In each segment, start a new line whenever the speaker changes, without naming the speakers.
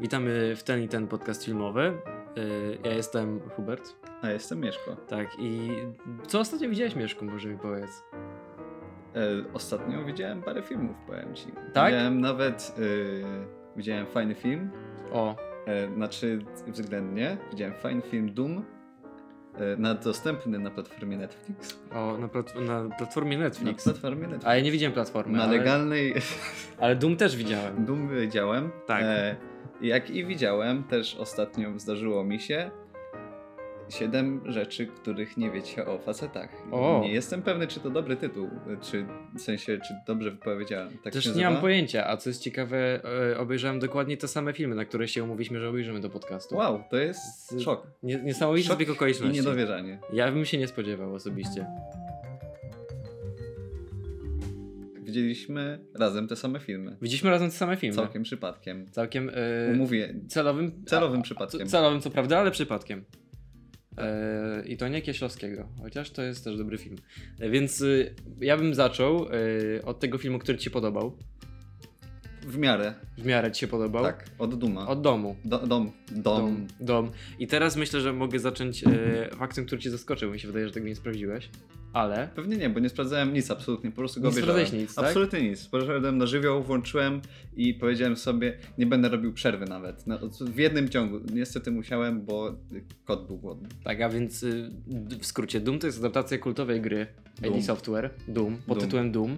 Witamy w ten i ten podcast filmowy. Yy, Ja jestem Hubert.
A jestem Mieszko.
Tak, i co ostatnio widziałeś, Mieszku, może mi powiedz?
E, ostatnio widziałem parę filmów, powiem ci.
Tak?
Widziałem nawet, e, widziałem fajny film,
O,
e, znaczy względnie, widziałem fajny film Doom, e, na, dostępny na platformie Netflix.
o na, plat- na platformie Netflix.
Na platformie Netflix.
A ja nie widziałem platformy,
na
ale,
legalnej
ale Doom też widziałem.
Doom widziałem. e,
Tak.
jak i widziałem, też ostatnio zdarzyło mi się siedem rzeczy, których nie wiecie o facetach.
O.
Nie jestem pewny, czy to dobry tytuł, czy w sensie, czy dobrze wypowiedziałem. Tak się
Też nie mam
nazywa?
pojęcia, a co jest ciekawe, e, obejrzałem dokładnie te same filmy, na które się umówiliśmy, że obejrzymy do podcastu.
Wow, to jest
Z-
szok
Nie, niesamowity
Szok
zbieg
i
okoliczności.
niedowierzanie.
Ja bym się nie spodziewał osobiście.
Widzieliśmy razem te same filmy.
Widzieliśmy razem te same filmy.
Całkiem przypadkiem.
Całkiem e,
Umówię.
celowym.
Celowym
C-
przypadkiem.
celowym, co prawda, ale przypadkiem. E, I to nie Kieślowskiego, chociaż to jest też dobry film. E, Więc y, ja bym zaczął y, od tego filmu, który Ci się podobał.
W miarę.
W miarę Ci się podobał.
Tak, od Duma.
Od domu.
Do, dom. Dom.
Dom. I teraz myślę, że mogę zacząć y, faktem, który Cię zaskoczył. Mi się wydaje, że tego nie sprawdziłeś. Ale.
Pewnie nie, bo nie sprawdzałem nic absolutnie, po prostu go
Nie
obejrzałem.
sprawdzałeś nic, tak?
Absolutnie nic. Poszedłem na żywioł, włączyłem i powiedziałem sobie, nie będę robił przerwy nawet. No, w jednym ciągu. Niestety musiałem, bo kot był głodny.
Tak, a więc y, d- w skrócie Doom to jest adaptacja kultowej gry
Doom.
ID Software, Doom, pod
Doom.
tytułem Doom, y,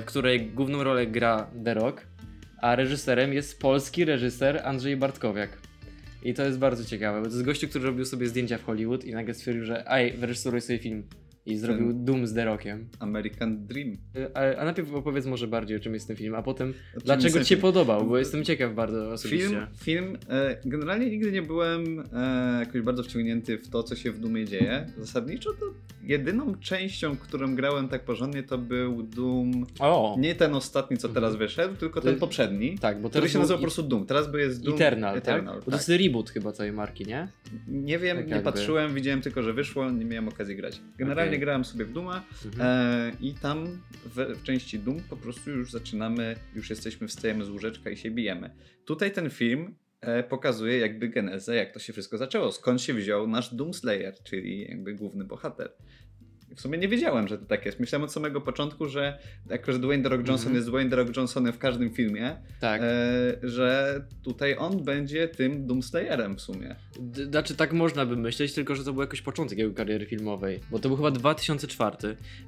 w której główną rolę gra The Rock, a reżyserem jest polski reżyser Andrzej Bartkowiak. I to jest bardzo ciekawe, bo to jest gościu, który robił sobie zdjęcia w Hollywood i nagle stwierdził, że aj, wyreżyseruj sobie film. I zrobił Doom z The Rockiem.
American Dream.
Y, A, a najpierw opowiedz może bardziej, o czym jest ten film, a potem
O czym
dlaczego ci
jest
się
ten film?
podobał, bo jestem ciekaw bardzo osobiście.
Film, film e, generalnie nigdy nie byłem e, jakoś bardzo wciągnięty w to, co się w Dumie dzieje. Zasadniczo to jedyną częścią, którą grałem tak porządnie, to był Doom.
O!
Nie ten ostatni, co teraz
Mhm.
wyszedł, tylko
To-
ten poprzedni.
tak, bo
Który
teraz
się
był
nazywa po
i-
prostu Doom. Teraz by jest Doom
Eternal, tak?
Eternal,
Bo
tak?
To jest reboot chyba całej marki, nie?
Nie wiem,
tak
nie
jakby.
patrzyłem, widziałem tylko, że wyszło, nie miałem okazji grać. Generalnie
Okej.
grałem sobie w Duma
Mhm.
e, i tam w, w części Doom po prostu już zaczynamy, już jesteśmy, wstajemy z łóżeczka i się bijemy. Tutaj ten film e, pokazuje jakby genezę, jak to się wszystko zaczęło, skąd się wziął nasz Doom Slayer, czyli jakby główny bohater. W sumie nie wiedziałem, że to tak jest. Myślałem od samego początku, że jako, że Dwayne The Rock Johnson
Mhm.
jest Dwayne The Rock Johnsonem w każdym filmie,
Tak.
e, że tutaj on będzie tym Doomslayerem w sumie.
D- Znaczy tak można by myśleć, tylko że to był jakoś początek jego kariery filmowej, bo to był chyba 2004,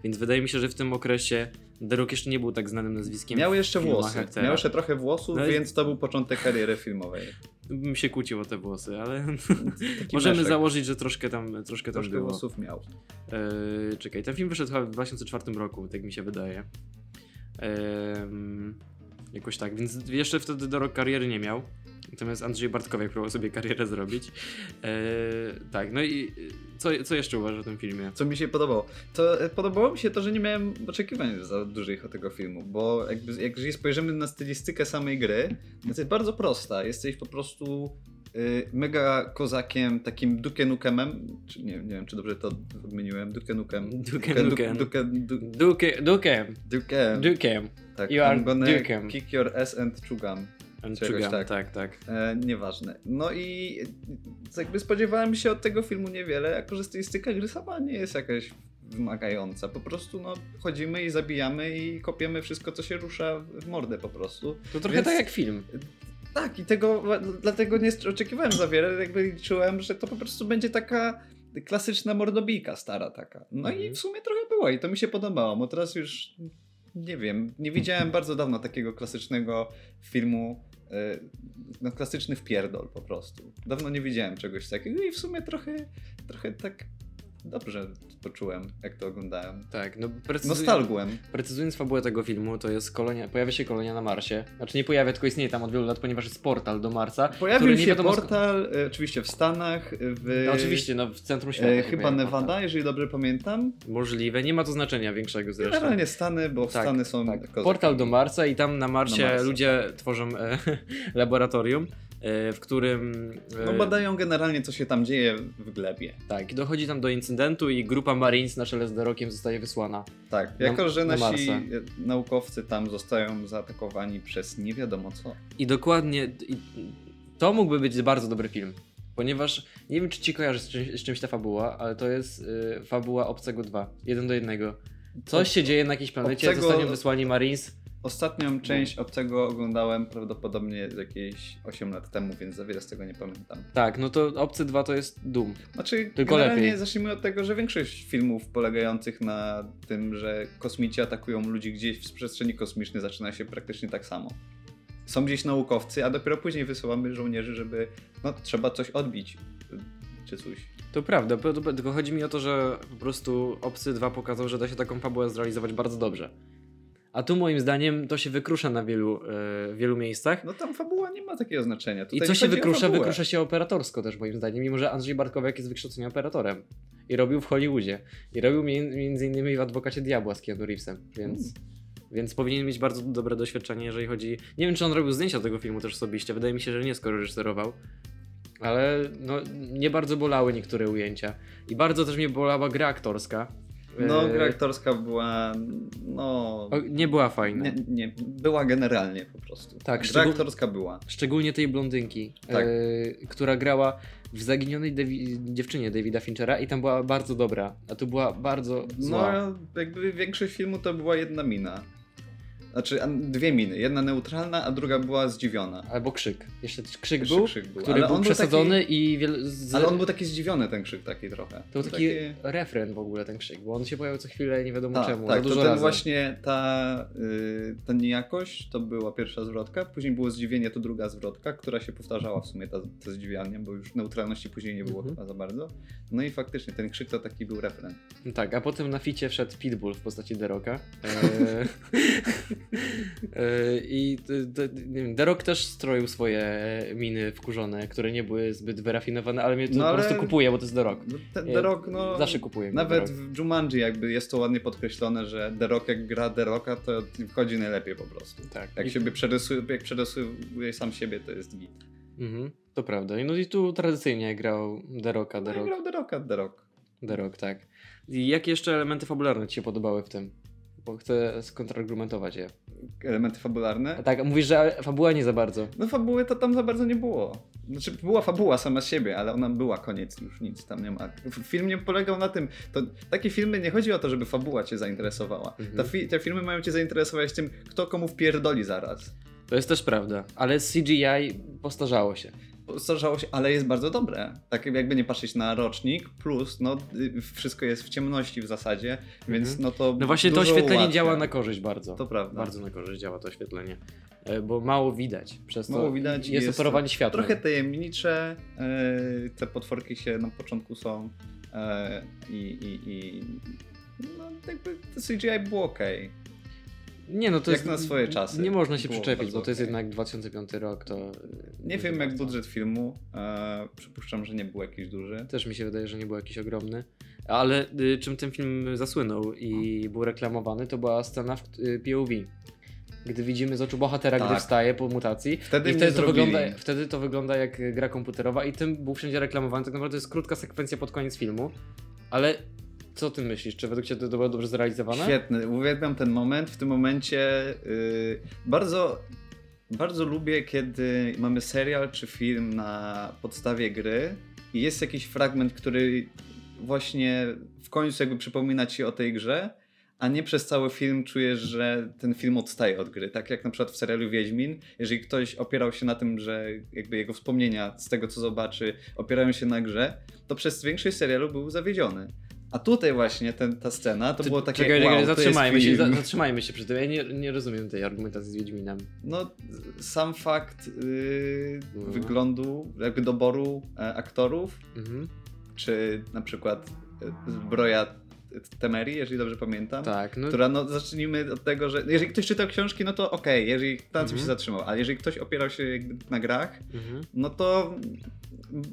więc wydaje mi się, że w tym okresie The Rock jeszcze nie był tak znanym nazwiskiem.
Miał
w
jeszcze
filmach
włosy.
aktora.
Miał jeszcze trochę włosów,
No i-
więc to był początek kariery filmowej.
Bym się kłócił o te włosy, ale
Taki
możemy
meszek.
założyć, że troszkę tam, troszkę tam
Troszkę
było.
włosów miał.
Eee, czekaj, ten film wyszedł chyba w 2004 roku, tak mi się wydaje. Em, jakoś tak, więc jeszcze wtedy do rok kariery nie miał. Natomiast Andrzej Bartkowiak próbował sobie karierę zrobić. Eee, tak, no i co, co jeszcze uważasz o tym filmie?
Co mi się podobało? To e, podobało mi się to, że nie miałem oczekiwań za dużych od tego filmu, bo jakby, jak jeżeli spojrzymy na stylistykę samej gry, to jest bardzo prosta. Jesteś po prostu y, mega kozakiem, takim Duke Nukemem, czy nie, nie wiem, czy dobrze to odmieniłem, Duke Nukem.
Duke
Duke-
Nukem.
Duke- Duke-
Duke, Duke'em,
Duke.
Duke'em.
Tak,
You are
I'm gonna
Duke'em.
kick your ass and chugam. Czy jakoś
Chugam,
tak.
tak, tak.
E, nieważne. No i e, jakby spodziewałem się od tego filmu niewiele, jako że stylistyka gry sama nie jest jakaś wymagająca. Po prostu no, chodzimy i zabijamy i kopiemy wszystko, co się rusza w mordę po prostu.
To trochę
Więc-
tak jak film.
Tak, i tego dlatego nie oczekiwałem za wiele, jakby liczyłem, że to po prostu będzie taka klasyczna mordobijka stara taka. No i
Mhm.
w sumie trochę była i to mi się podobało, bo teraz już nie wiem, nie widziałem bardzo dawno takiego klasycznego filmu, e, no klasyczny wpierdol po prostu. Dawno nie widziałem czegoś takiego i w sumie trochę, trochę tak dobrze poczułem, jak to oglądałem.
Tak, no precyzując,
Nostalgłem.
precyzując fabułę tego filmu, to jest kolonia, pojawia się kolonia na Marsie. Znaczy nie pojawia, tylko istnieje tam od wielu lat, ponieważ jest portal do Marsa. który
Pojawił
nie
się
wiadomo skąd-
portal, e, oczywiście w Stanach, w...
No, oczywiście, no w centrum świata.
E,
się
Eee, chyba
pojawia portal.
Nevada, jeżeli dobrze pamiętam.
Możliwe, nie ma to znaczenia większego zresztą.
Generalnie Stany, bo
Tak,
Stany są
Tak,
kozakami.
portal do Marsa i tam na Marsie
Marsa.
ludzie tworzą e, laboratorium, e, w którym... e,
No badają generalnie, co się tam dzieje w glebie.
Tak, dochodzi tam do incydentu i grupa Marines na czele z Dorokiem zostaje wysłana.
Tak, jako że
na
nasi
Marsa.
e, naukowcy tam zostają zaatakowani przez nie wiadomo co.
I dokładnie i To mógłby być bardzo dobry film. Ponieważ nie wiem, czy ci kojarzy z, czym, z czymś ta fabuła, ale to jest y, fabuła Obcego 2. Jeden do jednego. Coś się dzieje na jakiejś planecie,
Obcego-
zostaną wysłani Marines. No.
Ostatnią część Obcego oglądałem prawdopodobnie jakieś 8 lat temu, więc za wiele z tego nie pamiętam.
Tak, no to Obcy 2 to jest Doom.
Znaczy,
Tylko
generalnie
lepiej.
zacznijmy od tego, że większość filmów polegających na tym, że kosmici atakują ludzi gdzieś w przestrzeni kosmicznej zaczyna się praktycznie tak samo. Są gdzieś naukowcy, a dopiero później wysyłamy żołnierzy, żeby no trzeba coś odbić y, czy coś.
To prawda, po- to- tylko chodzi mi o to, że po prostu Obcy 2 pokazał, że da się taką fabułę zrealizować bardzo dobrze. A tu moim zdaniem to się wykrusza na wielu, y, wielu miejscach.
No tam fabuła nie ma takiego znaczenia.
I
Tutaj
co
nie
się
chodzi o
wykrusza?
fabułę.
Wykrusza się operatorsko też moim zdaniem, mimo że Andrzej Barkowiak jest wykształceniem operatorem. I robił w Hollywoodzie. I robił mi- między innymi w Adwokacie Diabła z Keanu Reevesem, więc...
Mm.
Więc powinien mieć bardzo dobre doświadczenie, jeżeli chodzi... Nie wiem, czy on robił zdjęcia tego filmu też osobiście, wydaje mi się, że nie, skoro reżyserował. Ale no, nie bardzo bolały niektóre ujęcia. I bardzo też mnie bolała gra aktorska.
No,
Eee,
gra aktorska była no
o, Nie była fajna.
nie, nie była generalnie po prostu.
Tak,
gra
szczegół-
aktorska była.
Szczególnie tej blondynki,
Tak.
e, która grała w zaginionej Dawi- dziewczynie Davida Finchera i tam była bardzo dobra, a tu była bardzo zła.
No, jakby większość filmu to była jedna mina. Znaczy, a- dwie miny. Jedna neutralna, a druga była zdziwiona.
Albo krzyk. Jeszcze krzyk
Krzyk-
był,
krzyk był.
który
Ale
był
on był
przesadzony i wiel... z...
Taki, ale on był taki zdziwiony, ten krzyk taki trochę.
To był taki refren w ogóle ten krzyk, bo on się pojawił co chwilę nie wiadomo
Tak,
czemu,
tak
za
to
dużo
ten
razy.
właśnie ta, y, ta niejakość to była pierwsza zwrotka, później było zdziwienie, to druga zwrotka, która się powtarzała w sumie ta, to zdziwianie, bo już neutralności później nie było
Mhm.
chyba za bardzo. No i faktycznie ten krzyk to taki był refren.
No Tak, a potem na ficie wszedł Pitbull w postaci Deroka. E... e... I d- d- nie wiem, Derok też stroił swoje miny wkurzone, które nie były zbyt wyrafinowane, ale mnie to
No
po
ale-
prostu kupuje, bo to jest Derok.
No, Ten
Nie,
The Rock, no...
Zawsze kupuję.
Nawet w Jumanji jakby jest to ładnie podkreślone, że The Rock jak gra The Rocka, to wchodzi najlepiej po prostu.
tak.
Jak
I-
siebie przerysuje, jak przerysuje sam siebie, to jest git.
Mhm, to prawda. I No i tu tradycyjnie grał Deroka,
No i
Derok,
grał The Rocka, The Rock.
Derok, tak. I jakie jeszcze elementy fabularne ci się podobały w tym? Bo chcę skontrargumentować je.
Elementy
A
fabularne.
tak, mówisz, że fabuła nie za bardzo.
No fabuły to tam za bardzo nie było. Znaczy była fabuła sama z siebie, ale ona była, koniec, już nic tam nie ma. F- Film nie polegał na tym, to takie filmy nie chodzi o to, żeby fabuła cię zainteresowała.
Mhm.
Ta fi- te filmy mają cię zainteresować tym, kto komu wpierdoli zaraz.
To jest też prawda, ale CGI postarzało się.
Starzało się, ale jest bardzo dobre. Tak jakby nie patrzeć na rocznik, plus no y, wszystko jest w ciemności w zasadzie, więc
Mhm.
no to
No właśnie to
dużo
oświetlenie
ułatwia.
działa na korzyść bardzo.
To prawda.
Bardzo na korzyść działa to oświetlenie, E, bo mało widać. Przez to
Mało widać i
jest,
jest
operowanie światłem.
Trochę tajemnicze, y, te potworki się na początku są y, i, i, i no jakby to CGI było ok.
Nie, no to
jak
jest
na swoje czasy.
Nie można się
Było
przyczepić,
bardzo
bo to jest
okej.
jednak 2005 rok, to...
Nie wiem jak budżet filmu, y, przypuszczam, że nie był jakiś duży.
Też mi się wydaje, że nie był jakiś ogromny. Ale y, czym ten film zasłynął i był reklamowany, to była scena w y, POV. Gdy widzimy z oczu bohatera,
Tak.
gdy wstaje po mutacji.
Wtedy,
I
mnie
wtedy to,
zrobili.
wygląda, wtedy to wygląda jak gra komputerowa i tym był wszędzie reklamowany. Tak naprawdę to jest krótka sekwencja pod koniec filmu. Ale co ty myślisz? Czy według ciebie to było dobrze zrealizowane?
Świetny, uwielbiam ten moment. W tym momencie y, bardzo, bardzo lubię, kiedy mamy serial czy film na podstawie gry i jest jakiś fragment, który właśnie w końcu jakby przypomina ci o tej grze, a nie przez cały film czujesz, że ten film odstaje od gry. Tak jak na przykład w serialu Wiedźmin, jeżeli ktoś opierał się na tym, że jakby jego wspomnienia z tego, co zobaczy, opierają się na grze, to przez większość serialu był zawiedziony. A tutaj właśnie ten, ta scena, to
Ty-
było takie,
czekaj,
wow,
czekaj,
to
zatrzymajmy, się,
jest film.
za, zatrzymajmy się przy tym. Ja nie, nie rozumiem tej argumentacji z Wiedźminem.
No, sam fakt yy,
No.
wyglądu, jakby doboru e, aktorów,
Mhm.
czy na przykład e, zbroja Temerii, jeżeli dobrze pamiętam.
Tak, no
Która, no zacznijmy od tego, że jeżeli ktoś czytał książki, no to okej, jeżeli na tym
Mhm.
się zatrzymał, ale jeżeli ktoś opierał się jakby na grach,
mhm.
no to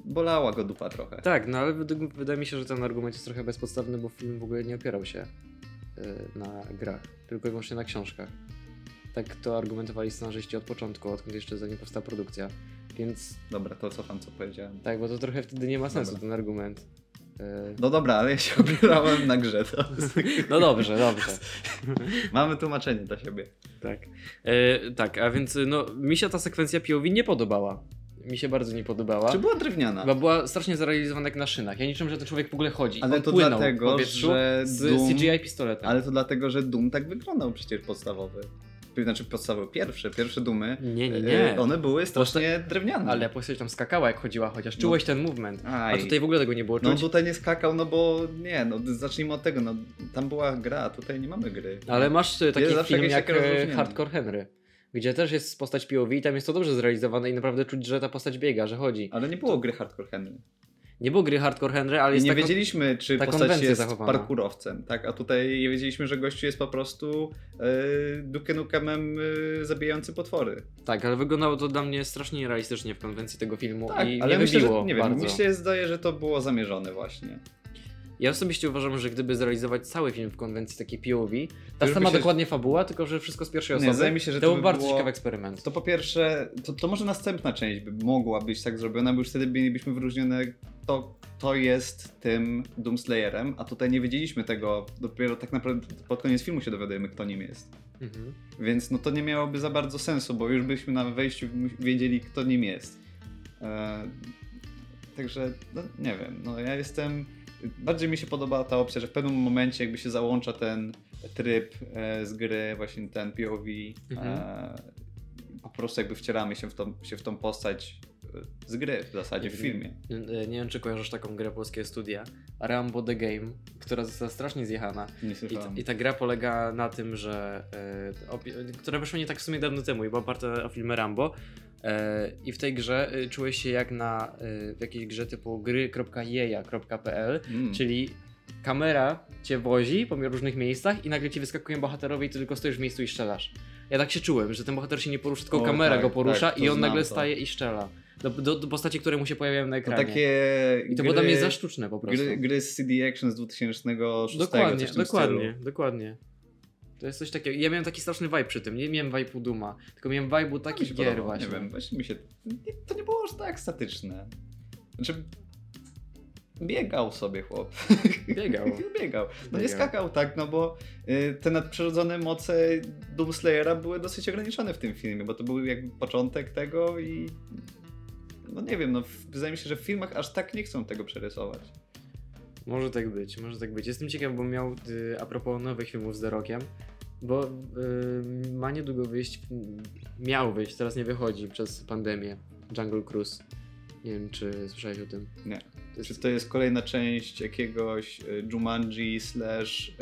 bolała go dupa trochę.
Tak, no ale według, wydaje mi się, że ten argument jest trochę bezpodstawny, bo film w ogóle nie opierał się y, na grach, tylko i wyłącznie na książkach. Tak to argumentowali scenarzyści od początku, odkąd jeszcze zanim powstała produkcja. Więc
Dobra, to cofam co powiedziałem.
tak, bo to trochę wtedy nie ma sensu
Dobra.
ten argument. Y,
No dobra, ale ja się opierałem na grze. To.
No dobrze, dobrze.
Mamy tłumaczenie dla siebie.
Tak. E, tak, a więc no, mi się ta sekwencja POV nie podobała. mi się bardzo nie podobała.
Czy była drewniana?
Chyba była strasznie zarealizowana jak na szynach. Ja niczym, że ten człowiek w ogóle chodzi.
Ale
On
to
płynął
dlatego,
w powietrzu
że
z
Doom-
CGI pistoletem.
Ale to dlatego, że Doom tak wyglądał przecież podstawowy. Znaczy podstawowy, pierwsze, pierwsze Dumy.
Nie, nie,
e,
nie.
One były strasznie drewniane.
Ale postać tam skakała jak chodziła chociaż. Czułeś ten movement. A
No. Aj.
tutaj w ogóle tego nie było
No
czuć.
tutaj nie skakał, no bo nie, no zacznijmy od tego, no tam była gra, a tutaj nie mamy gry.
Ale masz y, taki
Jest zawsze tak
film
jakieś
jak
takie
e,
rozróżnienie.
Hardcore Henry, gdzie też jest postać POV i tam jest to dobrze zrealizowane i naprawdę czuć, że ta postać biega, że chodzi.
Ale nie było gry Hardcore Henry.
Nie było gry Hardcore Henry, ale
I
jest
nie
tak...
wiedzieliśmy, czy
ta
postać
konwencja
jest
zachowana.
parkurowcem, tak? A tutaj nie wiedzieliśmy, że gościu jest po prostu yy, Duke Nukemem e, zabijający potwory.
Tak, ale wyglądało to dla mnie strasznie nierealistycznie w konwencji tego filmu
Tak,
i
ale
nie
myślę,
wybiło
że, nie wiem,
bardzo.
mi się zdaje, że to było zamierzone właśnie.
Ja osobiście uważam, że gdyby zrealizować cały film w konwencji takiej POV, ta
już by
sama
się-
dokładnie fabuła, tylko że wszystko z pierwszej
Nie,
osoby,
zdaje mi się, że to
był
by
bardzo
było-
ciekawy eksperyment.
To po pierwsze, to, to może następna część by mogła być tak zrobiona, bo już wtedy mielibyśmy wyróżnione to, kto jest tym Doomslayerem, a tutaj nie wiedzieliśmy tego, dopiero tak naprawdę pod koniec filmu się dowiadujemy, kto nim jest.
Mhm.
Więc no to nie miałoby za bardzo sensu, bo już byśmy na wejściu mu- wiedzieli, kto nim jest. E, także, no nie wiem, no ja jestem... Bardziej mi się podoba ta opcja, że w pewnym momencie jakby się załącza ten tryb e, z gry, właśnie ten POV.
Mhm.
E, po prostu jakby wcieramy się w tą, się w tą postać e, z gry w zasadzie, w filmie.
Y, y, Nie wiem, czy kojarzysz taką grę polskie studia, Rambo The Game, która została strasznie zjechana.
Nie
I, ta-
słyszałem.
I ta gra polega na tym, że. E, opi- która wyszła nie tak w sumie dawno temu i była oparta o filmy Rambo. E, I w tej grze e, czułeś się jak na e, w jakiejś grze typu gry.jeja.pl,
Mm.
czyli kamera cię wozi po różnych miejscach i nagle ci wyskakują bohaterowie i ty tylko stoisz w miejscu i strzelasz. Ja tak się czułem, że ten bohater się nie porusza, tylko
O,
kamera
tak,
go porusza
tak, to
i on
znam
nagle
to.
staje i strzela. Do, do, do postaci, które mu się pojawiają na
To
ekranie.
No takie
I to
gry,
było dla mnie za sztuczne po prostu.
gry, gry z CD Action z 2006
Dokładnie,
coś w tym
dokładnie,
stylu.
dokładnie. To jest coś takiego. Ja miałem taki straszny vibe przy tym. Nie miałem vibe'u Duma, tylko miałem vibe'u
Tak mi
takich
się
gier
podobało,
właśnie.
Nie wiem, właśnie mi się. Nie, to nie było aż tak statyczne. Znaczy. Biegał sobie chłop.
Biegał.
Biegał. No nie
Biegał.
skakał tak, no bo y, te nadprzyrodzone moce Doomslayera były dosyć ograniczone w tym filmie, bo to był jakby początek tego i. No nie wiem, no w- wydaje mi się, że w filmach aż tak nie chcą tego przerysować.
Może tak być, może tak być. Jestem ciekaw, bo miał y, a propos nowych filmów z The Rockiem, bo y, ma niedługo wyjść, miał wyjść, teraz nie wychodzi przez pandemię, Jungle Cruise. Nie wiem, czy słyszałeś o tym.
Nie.
To
Czy
jest,
to jest kolejna część jakiegoś y, Jumanji slash y,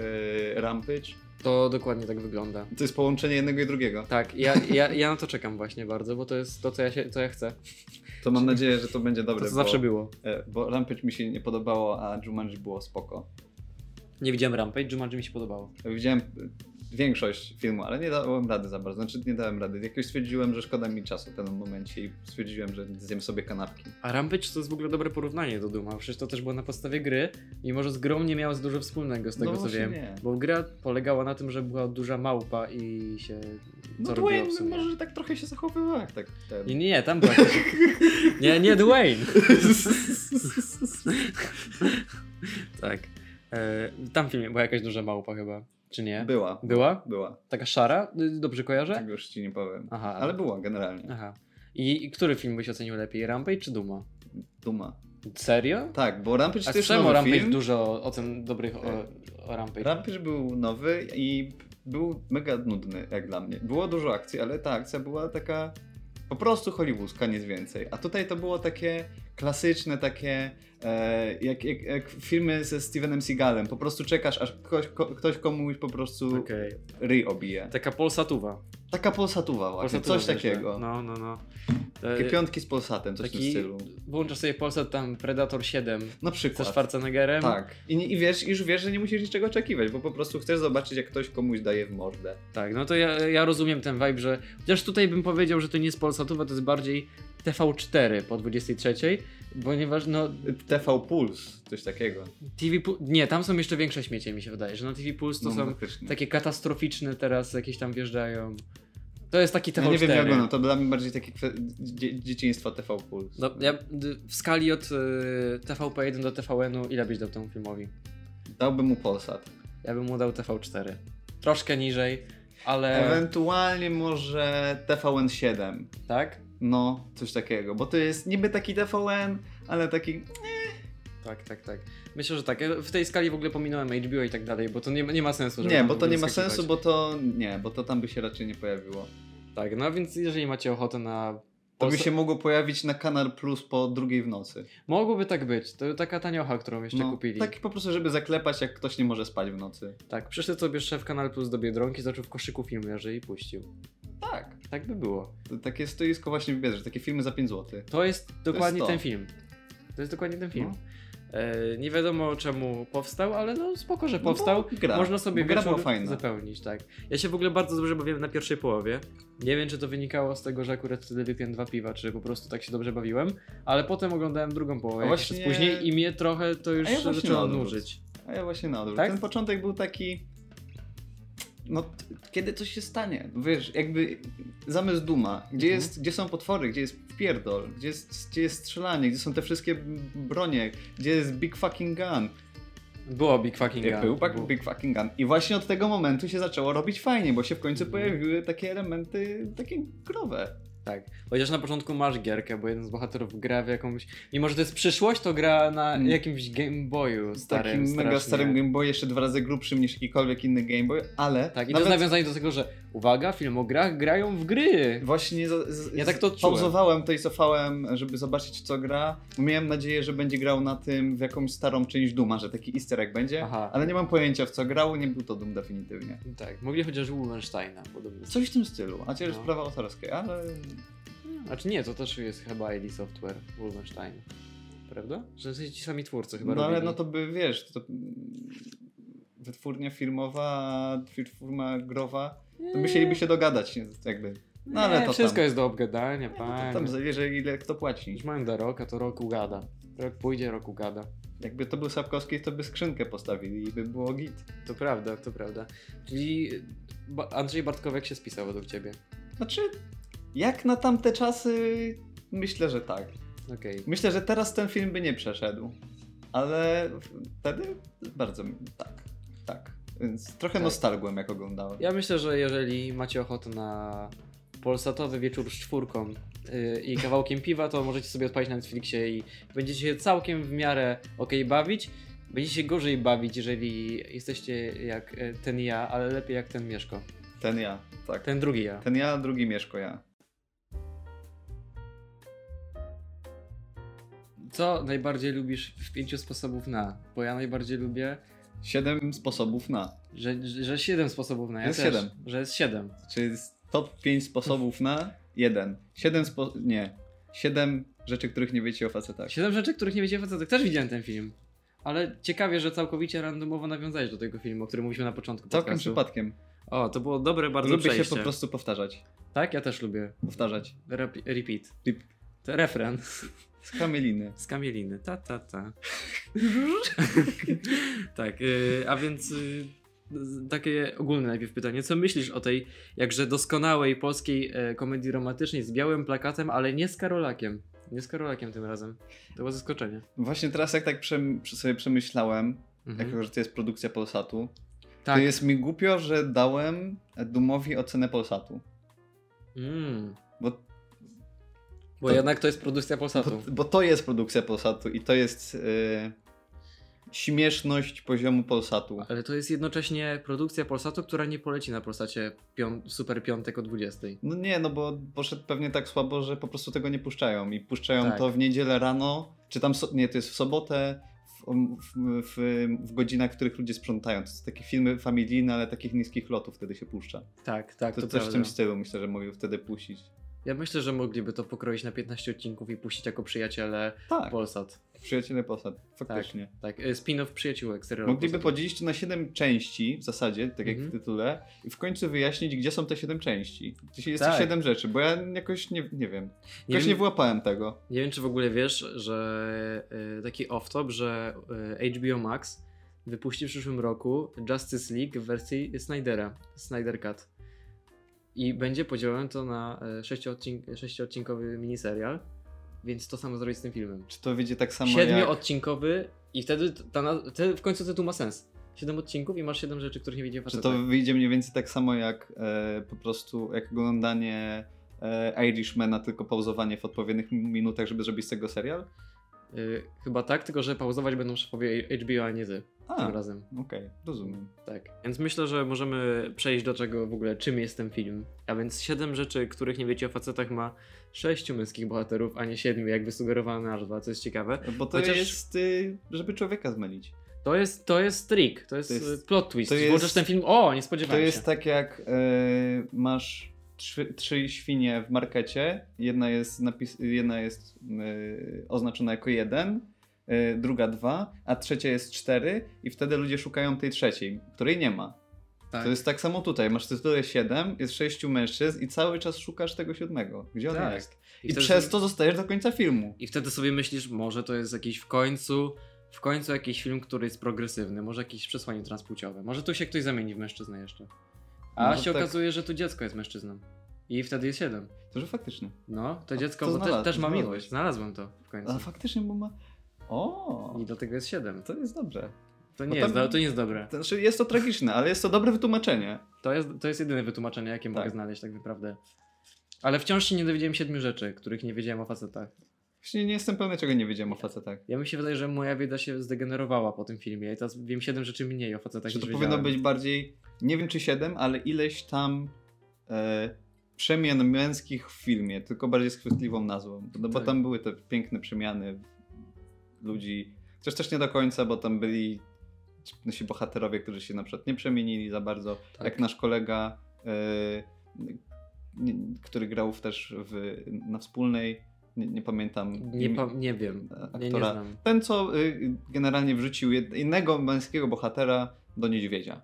Rampage?
to dokładnie tak wygląda.
To jest połączenie jednego i drugiego.
Tak, ja, ja, ja na to czekam właśnie bardzo, bo to jest to, co ja, się, co ja chcę.
To mam nadzieję, że to będzie
To,
dobre.
co
bo-
zawsze było.
E, bo Rampage mi się nie podobało, a Jumanji było spoko.
Nie widziałem Rampage, Jumanji mi się podobało.
Widziałem e, większość filmu, ale nie dałem rady za bardzo. Znaczy nie dałem rady. Jakoś stwierdziłem, że szkoda mi czasu w tym momencie i stwierdziłem, że zjem sobie kanapki.
A Rampage to jest w ogóle dobre porównanie do Duma. Przecież to też było na podstawie gry, mimo że z grą nie miało dużo wspólnego z tego
No
co
właśnie
wiem.
nie.
Bo gra polegała na tym, że była duża małpa i się.
No
co robiło
Dwayne
w sumie.
może tak trochę się zachowywał jak tak. Ten.
Nie, nie, nie, tam była. nie, nie, Dwayne! tak. E, tam w filmie była jakaś duża małpa chyba, czy nie?
Była.
Była?
Była.
Taka szara? Y, Dobrze kojarzę?
Tak już ci nie powiem.
Aha.
Ale była generalnie.
Aha. I, I który film byś ocenił lepiej? Rampage czy Duma?
Duma.
Serio?
Tak, bo Rampage
A
to jest
czemu
nowy
Rampage
film.
dużo ocen dobrych o, o Rampage?
Rampage był nowy i był mega nudny, jak dla mnie. Było dużo akcji, ale ta akcja była taka po prostu hollywoodzka, nic więcej. A tutaj to było takie klasyczne, takie e, jak, jak, jak filmy ze Stevenem Seagalem. Po prostu czekasz, aż ktoś, ko, ktoś komuś po prostu
Okej. Tak.
ryj obije.
Taka polsatuwa.
Taka polsatuwa właśnie,
polsatuwa
coś
zresztą.
takiego.
No, no, no. E,
Takie piątki z polsatem, coś w tym
taki,
stylu.
włączasz sobie Polsat tam Predator 7
Na
ze
przykład.
Schwarzeneggerem.
Tak. I, nie- I wiesz, już wiesz, że nie musisz niczego oczekiwać, bo po prostu chcesz zobaczyć, jak ktoś komuś daje w mordę.
Tak, no to ja, ja rozumiem ten vibe, że chociaż tutaj bym powiedział, że to nie jest polsatuwa, to jest bardziej TV4 po 23, ponieważ no
TV Puls, coś takiego.
TV Pu- nie, tam są jeszcze większe śmiecie mi się wydaje, że na TV Puls to
No,
są
faktycznie.
takie katastroficzne teraz jakieś tam wjeżdżają. To jest taki TV4.
Ja nie wiem, jak ono, to dla mnie bardziej takie kwe... dzie dzieciństwo TV Puls.
No, ja d- w skali od y, TVP1 do TVN-u ile byś dał temu filmowi?
Dałbym mu Polsat.
Ja bym mu dał TV4. Troszkę niżej, ale
Ewentualnie może TVN 7.
tak?
No, coś takiego, bo to jest niby taki TVN, ale taki
Tak, tak, tak. Myślę, że tak. W tej skali w ogóle pominąłem HBO i tak dalej, bo to nie, nie ma sensu. żeby
Nie,
tam
bo
w
to
ogóle
nie ma
wskakiwać.
sensu, bo to nie, bo to tam by się raczej nie pojawiło.
Tak, no więc jeżeli macie ochotę na...
To by
Polsa-
się mogło pojawić na Kanal Plus po drugiej w nocy.
Mogłoby tak być. To taka taniocha, którą jeszcze
No,
kupili.
Tak po prostu, żeby zaklepać, jak ktoś nie może spać w nocy.
Tak, przyszedł sobie szef Kanal Plus do Biedronki, zobaczył w koszyku film leży i puścił.
Tak.
Tak by było.
To takie stoisko właśnie w Biedrze, takie filmy za 5 zł.
To jest dokładnie
to.
ten film. To jest dokładnie ten film. E, nie wiadomo czemu powstał, ale no spoko, że
No
powstał.
bo gra.
Można sobie
Bo gra
wieczór
była fajna.
zapełnić, tak. Ja się w ogóle bardzo dobrze bawiłem na pierwszej połowie. Nie wiem, czy to wynikało z tego, że akurat wtedy wypiłem dwa piwa, czy po prostu tak się dobrze bawiłem, ale potem oglądałem drugą połowę
A
jakiś czas
właśnie-
później i mnie trochę to już
A ja właśnie na
zaczęło
odwrót.
nużyć.
A ja właśnie na odwrót.
Tak?
Ten początek był taki... No, t- kiedy coś się stanie? Wiesz, jakby zamysł Duma. Gdzie,
Mhm.
jest, gdzie są potwory? Gdzie jest pierdol? Gdzie jest, gdzie jest strzelanie? Gdzie są te wszystkie bronie? Gdzie jest big fucking gun?
Było Big Fucking
Jak
Gun.
był tak, Big,
Było.
Big Fucking Gun. I właśnie od tego momentu się zaczęło robić fajnie, bo się w końcu
Mhm.
pojawiły takie elementy takie growe.
Tak. Chociaż na początku masz gierkę, bo jeden z bohaterów gra w jakąś. Mimo, że to jest przyszłość, to gra na
Mm.
jakimś Game Boyu
Z
starym.
takim mega
strasznie.
starym Game Boy, jeszcze dwa razy grubszym niż jakikolwiek inny Game Boy, ale
Tak, i to
nawet
jest nawiązanie do tego, że uwaga, film o grach grają w gry.
właśnie za- z,
Ja tak to
z-
czułem.
pauzowałem to i cofałem, żeby zobaczyć co gra. Miałem nadzieję, że będzie grał na tym w jakąś starą część Duma, że taki easter egg będzie,
Aha.
ale nie mam pojęcia w co grał, nie był to Doom definitywnie.
Tak, mogli chociaż Wolfensteina podobnie.
Coś w tym stylu, a ciężko
No.
sprawa autorska, ale
Znaczy nie, to też jest chyba ID Software Wolfenstein. Prawda? Że to ci sami twórcy chyba
No ale
robili.
no to by wiesz, to wytwórnia firmowa, firma growa, to musieliby się dogadać nie, jakby. No ale
nie,
to
wszystko
tam. no
jest do obgadania, panie.
To tam zależy ile kto płaci.
Już mają do roka, to rok ugada. Rok pójdzie, rok ugada.
Jakby to był Sapkowski, to by skrzynkę postawili i by było git.
To prawda, to prawda. Czyli Ba- Andrzej Bartkowiak się spisał według ciebie.
Znaczy, jak na tamte czasy, myślę, że tak.
Okej.
Myślę, że teraz ten film by nie przeszedł. Ale wtedy bardzo mi- tak, tak. Więc trochę
Tak.
nostalgłem jak oglądałem.
Ja myślę, że jeżeli macie ochotę na polsatowy wieczór z czwórką yy, i kawałkiem piwa, to możecie sobie odpalić na Netflixie i będziecie się całkiem w miarę okej bawić. Będziecie się gorzej bawić, jeżeli jesteście jak e, ten ja, ale lepiej jak ten Mieszko.
Ten ja, tak.
Ten drugi ja.
Ten ja, drugi Mieszko ja.
Co najbardziej lubisz w pięciu sposobów na? Bo ja najbardziej lubię,
Siedem sposobów na.
że, że siedem sposobów na. Ja
Jest
też,
siedem.
Że jest siedem.
Czyli jest top 5 sposobów na jeden. Siedem spo... nie. Siedem rzeczy, których nie wiecie o facetach.
Tak. Siedem rzeczy, których nie wiecie facetek. Też widziałem ten film. Ale ciekawie, że całkowicie randomowo nawiązałeś do tego filmu, o którym mówiliśmy na początku
Całkiem
podcastu.
przypadkiem.
O, to było dobre bardzo
Lubię
przejście.
się po prostu powtarzać.
Tak, ja też lubię.
Powtarzać.
Rep- repeat.
Rep-
To refren
Z kameliny.
z Kamieliny. Ta, ta, ta. tak, y, a więc y, z- takie ogólne najpierw pytanie. Co myślisz o tej jakże doskonałej polskiej e, komedii romantycznej z białym plakatem, ale nie z Karolakiem? Nie z Karolakiem tym razem. To było zaskoczenie.
Właśnie teraz jak tak przem- przy- sobie przemyślałem,
Mhm.
jako że to jest produkcja Polsatu,
Tak.
to jest mi głupio, że dałem Dumowi ocenę Polsatu.
Mm.
Bo,
Bo
To-
jednak to jest produkcja Polsatu.
bo, bo to jest produkcja Polsatu i to jest yy, śmieszność poziomu Polsatu.
Ale to jest jednocześnie produkcja Polsatu, która nie poleci na Polsacie pią- Super Piątek o 20.
No nie, no bo poszedł pewnie tak słabo, że po prostu tego nie puszczają. I puszczają
Tak.
to w niedzielę rano, czy tam, so, nie, to jest w sobotę, w, w, w, w godzinach, w których ludzie sprzątają. To są takie filmy familijne, ale takich niskich lotów wtedy się puszcza.
Tak, tak,
To,
to,
coś
prawda.
w tym stylu myślę, że mogli wtedy puścić.
Ja myślę, że mogliby to pokroić na 15 odcinków i puścić jako przyjaciele
Tak,
Polsat.
przyjaciele posad, faktycznie.
Tak, e, spin-off przyjaciółek serialu
Mogliby
Polsatu.
podzielić to na 7 części w zasadzie, tak jak
Mhm.
w tytule, i w końcu wyjaśnić, gdzie są te 7 części. Gdzie jest te
Tak.
7 rzeczy, bo ja jakoś nie, nie wiem.
nie,
Jakoś nie,
wiem,
wyłapałem tego.
nie wiem, czy w ogóle wiesz, że e, taki off-top, że e, HBO Max wypuści w przyszłym roku Justice League w wersji Snydera, Snyder Cut. I będzie podzielone to na e, sześcioodcink- sześciodcinkowy miniserial, więc to samo zrobić z tym filmem.
Czy to wyjdzie tak samo jak...
Siedmioodcinkowy i wtedy ta, naz- te, w końcu tytuł ma sens. Siedem odcinków i masz siedem tak. rzeczy, których nie widziałem
Czy
faceta.
to wyjdzie mniej więcej tak samo jak e, po prostu jak oglądanie e, e, Irishmana, tylko pauzowanie w odpowiednich minutach, żeby zrobić z tego serial?
Y, chyba tak, tylko że pauzować będą szefowie HBO, a nie ty
A,
tym
okej,
razem.
rozumiem.
Tak. Więc myślę, że możemy przejść do czego w ogóle, czym jest ten film. A więc siedem rzeczy, których nie wiecie o facetach ma sześciu męskich bohaterów, a nie siedmiu, jakby sugerowała nazwa, co jest ciekawe.
Bo to
Chociaż-
jest, y, żeby człowieka zmylić.
To jest, to jest trik, to jest,
To jest-
y, plot twist.
to jest-
Włączysz ten film, o, nie
To
spodziewałem się.
jest tak jak e, masz trzy, trzy świnie w markecie, jedna jest, napis, jedna jest e, oznaczona jako jeden, e, druga dwa, a trzecia jest cztery i wtedy ludzie szukają tej trzeciej, której nie ma.
tak.
To jest tak samo tutaj, masz tytule siedem, jest sześciu mężczyzn i cały czas szukasz tego siódmego, gdzie on
Tak.
jest.
I
I,
wtedy
przez
sobie-
to zostajesz do końca filmu.
I wtedy sobie myślisz, może to jest jakiś w końcu, w końcu jakiś film, który jest progresywny, może jakieś przesłanie transpłciowe, może tu się ktoś zamieni w mężczyznę jeszcze. A
Może
się
tak.
okazuje, że tu dziecko jest mężczyzną. I wtedy jest siedem.
To że faktycznie.
No, to
A
dziecko
to
bo te,
znalazł-
też ma
znalazłeś.
miłość. Znalazłem to w końcu.
A faktycznie, bo ma... O,
I dlatego jest siedem.
to jest dobrze.
To
bo
nie,
tam-
jest, do- to nie jest dobre.
Znaczy, jest to tragiczne, ale jest to dobre wytłumaczenie.
To jest, to jest jedyne wytłumaczenie, jakie mogę
Tak.
znaleźć tak naprawdę. Ale wciąż się nie dowiedziałem siedmiu rzeczy, których nie wiedziałem o facetach.
Właśnie nie jestem pewny, czego nie wiedziałem o facetach.
Ja mi się wydaje, że moja wiedza się zdegenerowała po tym filmie i teraz wiem siedem rzeczy mniej o facetach
Że
niż
to powinno
wiedziałem.
być bardziej, nie wiem czy 7, ale ileś tam e, przemian męskich w filmie, tylko bardziej z chwytliwą nazwą. No bo
Tak.
tam były te piękne przemiany ludzi, chociaż też nie do końca, bo tam byli ci- nasi bohaterowie, którzy się na przykład nie przemienili za bardzo,
Tak.
jak nasz kolega, e, nie- który grał w- też w, na wspólnej, nie, nie pamiętam.
Nie,
imi-
pa- nie wiem, nie, nie
aktora.
znam.
Ten, co y, generalnie wrzucił jed- innego męskiego bohatera do niedźwiedzia.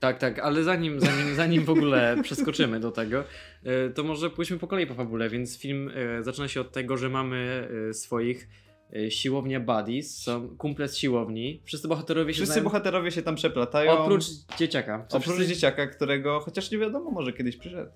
Tak, tak, ale zanim, zanim, zanim w ogóle przeskoczymy do tego, e, to może pójdźmy po kolei po fabule, więc film e, zaczyna się od tego, że mamy e, swoich e, siłownia buddies, są kumple z siłowni, wszyscy bohaterowie się
Wszyscy
znają,
bohaterowie się tam przeplatają.
oprócz dzieciaka. Co
oprócz
wszyscy-
dzieciaka, którego chociaż nie wiadomo, może kiedyś przyszedł.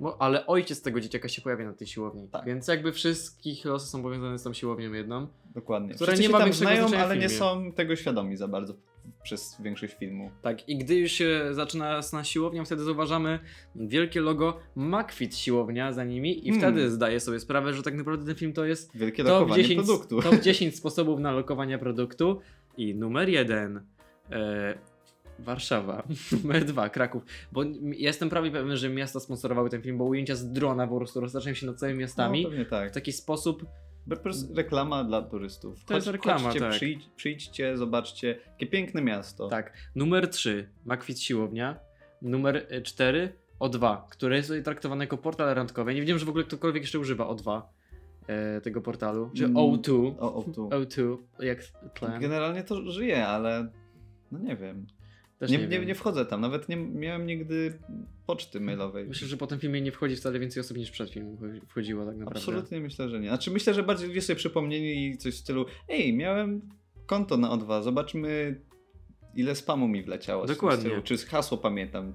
Bo, ale ojciec tego dzieciaka się pojawia na tej siłowni,
Tak.
więc jakby wszystkich losy są powiązane z tą siłownią jedną.
Dokładnie.
Które
Wszyscy
nie
się
ma
tam
większego
znają,
znaczenia w
ale nie
filmie.
są tego świadomi za bardzo przez większość filmu.
Tak, i gdy już się zaczyna z na siłownią, wtedy zauważamy wielkie logo McFit siłownia za nimi i
Hmm.
wtedy zdaję sobie sprawę, że tak naprawdę ten film to jest
Wielkie
Top
lokowanie
10,
produktu.
top 10 sposobów na lokowanie produktu i numer jeden e, Warszawa, numer dwa Kraków, bo m- jestem prawie pewien, że miasta sponsorowały ten film, bo ujęcia z drona po prostu roztaczałem się nad całymi miastami.
No, pewnie
w
tak.
taki sposób,
Po prostu reklama dla turystów.
To jest reklama,
chodźcie,
tak.
przyjdź, przyjdźcie, zobaczcie. Jakie piękne miasto.
tak. Numer 3, Makwit Siłownia. Numer e, 4, O2, które jest tutaj traktowane jako portal randkowy. Nie wiem, że w ogóle ktokolwiek jeszcze używa O2 e, tego portalu. Czy
Mm.
O2,
O, o tu.
O2, jak tlen.
Generalnie to żyje, ale no nie wiem.
Też
Nie,
nie,
nie, nie,
wiem.
wchodzę tam, nawet nie miałem nigdy poczty mailowej.
Myślę, że po tym filmie nie wchodzi wcale więcej osób niż przed filmem wchodzi- wchodziło tak naprawdę.
Absolutnie myślę, że nie. Znaczy myślę, że bardziej ludzie sobie przypomnieli i coś w stylu Ej, miałem konto na O2, zobaczmy ile spamu mi wleciało. coś w
Dokładnie.
Stylu, czy hasło pamiętam.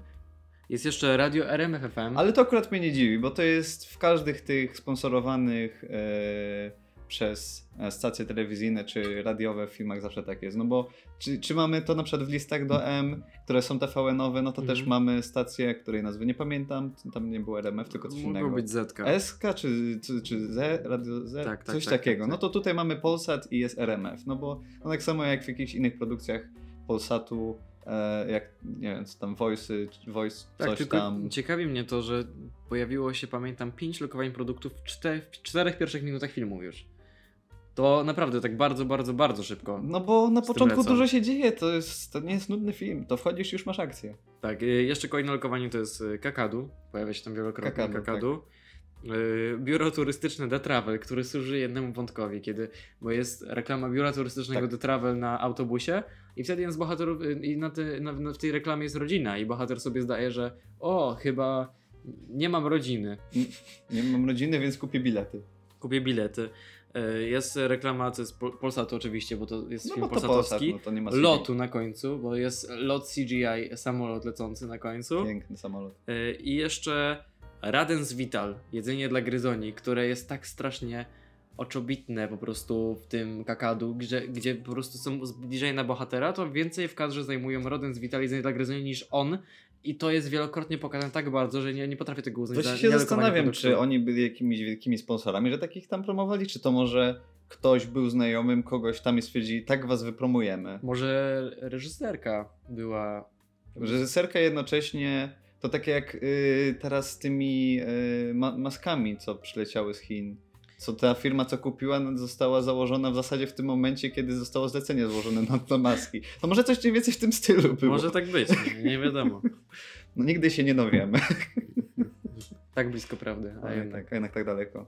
Jest jeszcze radio RMF FM.
Ale to akurat mnie nie dziwi, bo to jest w każdych tych sponsorowanych e, przez e, stacje telewizyjne czy radiowe w filmach zawsze tak jest. No bo czy, czy mamy to na przykład w listach do M, które są TVN-owe, no to
Mhm.
też mamy stację, której nazwy nie pamiętam, tam nie było RMF, tylko coś innego.
Mogło być Zetka.
SK czy, czy, czy Z, Radio Z,
Tak, tak,
coś
tak, tak,
takiego.
tak.
No to tutaj mamy Polsat i jest RMF, no bo no tak samo jak w jakichś innych produkcjach Polsatu, e, jak nie wiem, co tam Voice, Voice
Tak,
coś
tylko
tam.
ciekawi mnie to, że pojawiło się, pamiętam, pięć lokowań produktów w, czter- w czterech pierwszych minutach filmu już. To naprawdę tak bardzo, bardzo, bardzo szybko.
No bo na
z tym
początku
lecą.
dużo się dzieje, to, jest, to nie jest nudny film, to wchodzisz i już masz akcję.
Tak, y, jeszcze kolejne lokowanie to jest y, Kakadu. Pojawia się tam wielokrotnie Kakadu.
Kakadu, tak.
Y, Biuro turystyczne The Travel, które służy jednemu wątkowi, kiedy, bo jest reklama biura turystycznego
Tak.
The Travel na autobusie i wtedy jeden z bohaterów, y, i na te, na, na, w tej reklamie jest rodzina i bohater sobie zdaje, że o, chyba nie mam rodziny,
Nie mam rodziny, więc kupię bilety.
kupię bilety. Y, Jest reklama, co jest Pol- Polsatu oczywiście, bo to jest
No
film
bo to Polsat,
polsatowski.
no to nie ma
Lotu na końcu, bo jest lot CGI, samolot lecący na końcu.
Piękny samolot.
Y, I jeszcze Radens Vital, jedzenie dla gryzoni, które jest tak strasznie oczobitne po prostu w tym kakadu, gdzie, gdzie po prostu są bliżej na bohatera, to więcej w kadrze zajmują Roden z Vitali z Grezoni niż on. I to jest wielokrotnie pokazane tak bardzo, że nie, nie potrafię tego uznać za
Właśnie się
nielokowanie
zastanawiam,
produktu.
czy oni byli jakimiś wielkimi sponsorami, że takich tam promowali, czy to może ktoś był znajomym kogoś tam i stwierdzili, tak was wypromujemy.
Może reżyserka była.
Reżyserka jednocześnie to takie jak y, teraz z tymi y, ma maskami, co przyleciały z Chin. Co ta firma, co kupiła, no, została założona w zasadzie w tym momencie, kiedy zostało zlecenie złożone na, na maski. To może coś mniej więcej w tym stylu było.
Może tak być, nie wiadomo.
No, nigdy się nie dowiemy.
Tak blisko prawdy. A
A
jednak.
jednak, a jednak tak daleko.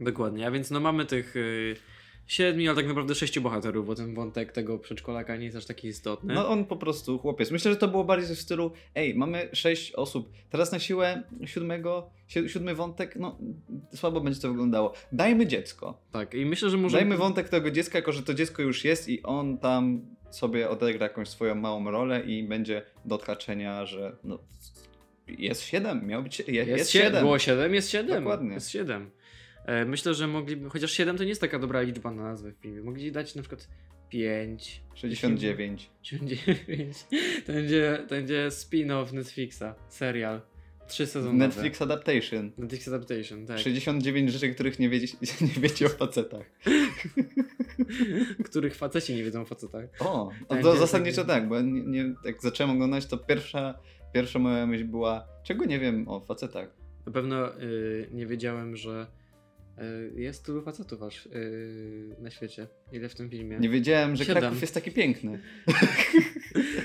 Dokładnie, a więc no mamy tych y, siedmiu, ale tak naprawdę sześciu bohaterów, bo ten wątek tego przedszkolaka nie jest aż taki istotny.
No on po prostu chłopiec. Myślę, że to było bardziej w stylu, ej, mamy sześć osób, teraz na siłę siódmego, si- siódmy wątek, no słabo będzie to wyglądało. Dajmy dziecko.
Tak, i myślę, że może.
Dajmy wątek tego dziecka, jako że to dziecko już jest i on tam sobie odegra jakąś swoją małą rolę i będzie do odhaczenia, że no, jest siedem, miał być, je, jest,
Jest, sie-
siedem.
Było 7, jest 7.
Dokładnie.
Jest 7. E, myślę, że mogliby. Chociaż 7 to nie jest taka dobra liczba na nazwę w filmie. Mogli dać na przykład 5,
69.
99. To będzie, to będzie spin-off Netflixa, serial. Trzy sezony.
Netflix Adaptation.
Netflix Adaptation, tak.
69 rzeczy, których nie wiecie, nie wiecie o facetach.
Których faceci nie wiedzą o facetach.
O, to
Tak,
to
tak,
zasadniczo
tak.
tak, bo ja nie, nie, jak zacząłem oglądać, to pierwsza, pierwsza moja myśl była, czego nie wiem o facetach.
Na pewno y, nie wiedziałem, że y, jest tylu facetów aż y, na świecie. Ile w tym filmie?
Nie wiedziałem, że
Siedem.
Kraków jest taki piękny.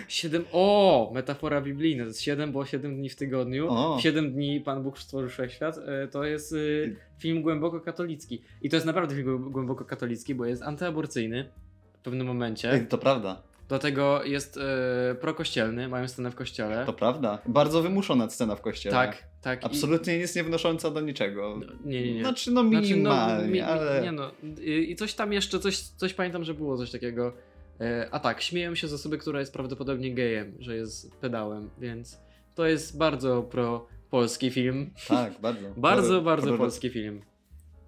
Siedem. O! Metafora biblijna. To jest siedem, było siedem dni w tygodniu.
O.
W Siedem dni Pan Bóg stworzył wszechświat. Y, to jest y, film głęboko katolicki. I to jest naprawdę film głę- głęboko katolicki, bo jest antyaborcyjny w pewnym
Ej,
momencie.
to prawda,
Do tego jest y, prokościelny, mają scenę w kościele.
to prawda. Bardzo wymuszona scena w kościele.
tak, tak. i-
Absolutnie nic nie wnosząca do niczego.
No, Nie, nie, nie.
Znaczy no
Znaczy,
minimalnie,
mi- mi-
ale...
Nie no, y, i coś tam jeszcze, coś, coś pamiętam, że było coś takiego. E, A tak, śmieją się z osoby, która jest prawdopodobnie gejem, że jest pedałem, więc to jest bardzo pro-polski film.
Tak, bardzo.
Bardzo,
Proro-
bardzo
proro-
polski film.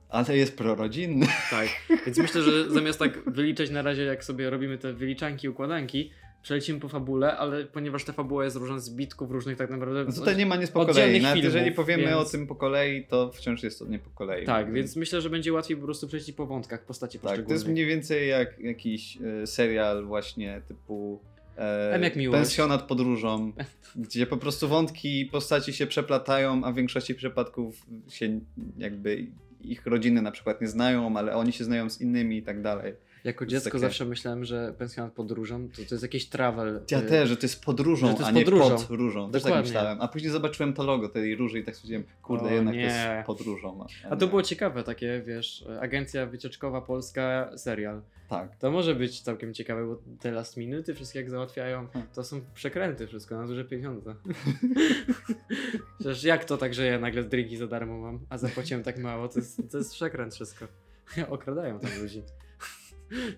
Ale jest prorodzinny.
Tak. Więc myślę, że zamiast tak wyliczać na razie, jak sobie robimy te wyliczanki, układanki, przelecimy po fabule, ale ponieważ ta fabuła jest różna z bitków różnych tak naprawdę.
No Tutaj nie ma nic po
Oddzielnych
kolei. Nawet
filmów,
jeżeli powiemy
więc-
o tym po kolei, to wciąż jest to nie po kolei.
Tak, więc myślę, że będzie łatwiej po prostu przejść po wątkach postaci
Tak, to jest
poszczególnych.
mniej więcej jak jakiś e, serial właśnie typu
M
e,
jak miłość.
Pensjonat podróżą, gdzie po prostu wątki i postaci się przeplatają, a w większości przypadków się jakby ich rodziny na przykład nie znają, ale oni się znają z innymi i tak dalej.
Jako
Jest
dziecko
takie-
zawsze myślałem, że pensjonat podróżą to, to jest jakiś travel.
Ja
y,
też, że to jest podróżą,
Że to jest
a nie
podróżą.
pod różą. Też
Dokładnie.
tak myślałem. A później zobaczyłem to logo tej róży i tak stwierdziłem, kurde,
O,
jednak
nie.
to jest podróżą.
A to było ciekawe, takie wiesz, agencja wycieczkowa polska serial.
Tak.
To może być całkiem ciekawe, bo te last minuty wszystkie jak załatwiają,
Hmm.
to są przekręty wszystko na duże pieniądze. Przecież jak to tak, że ja nagle drinki za darmo mam, a zapłaciłem tak mało, to jest, to jest przekręt wszystko. Okradają tam ludzi.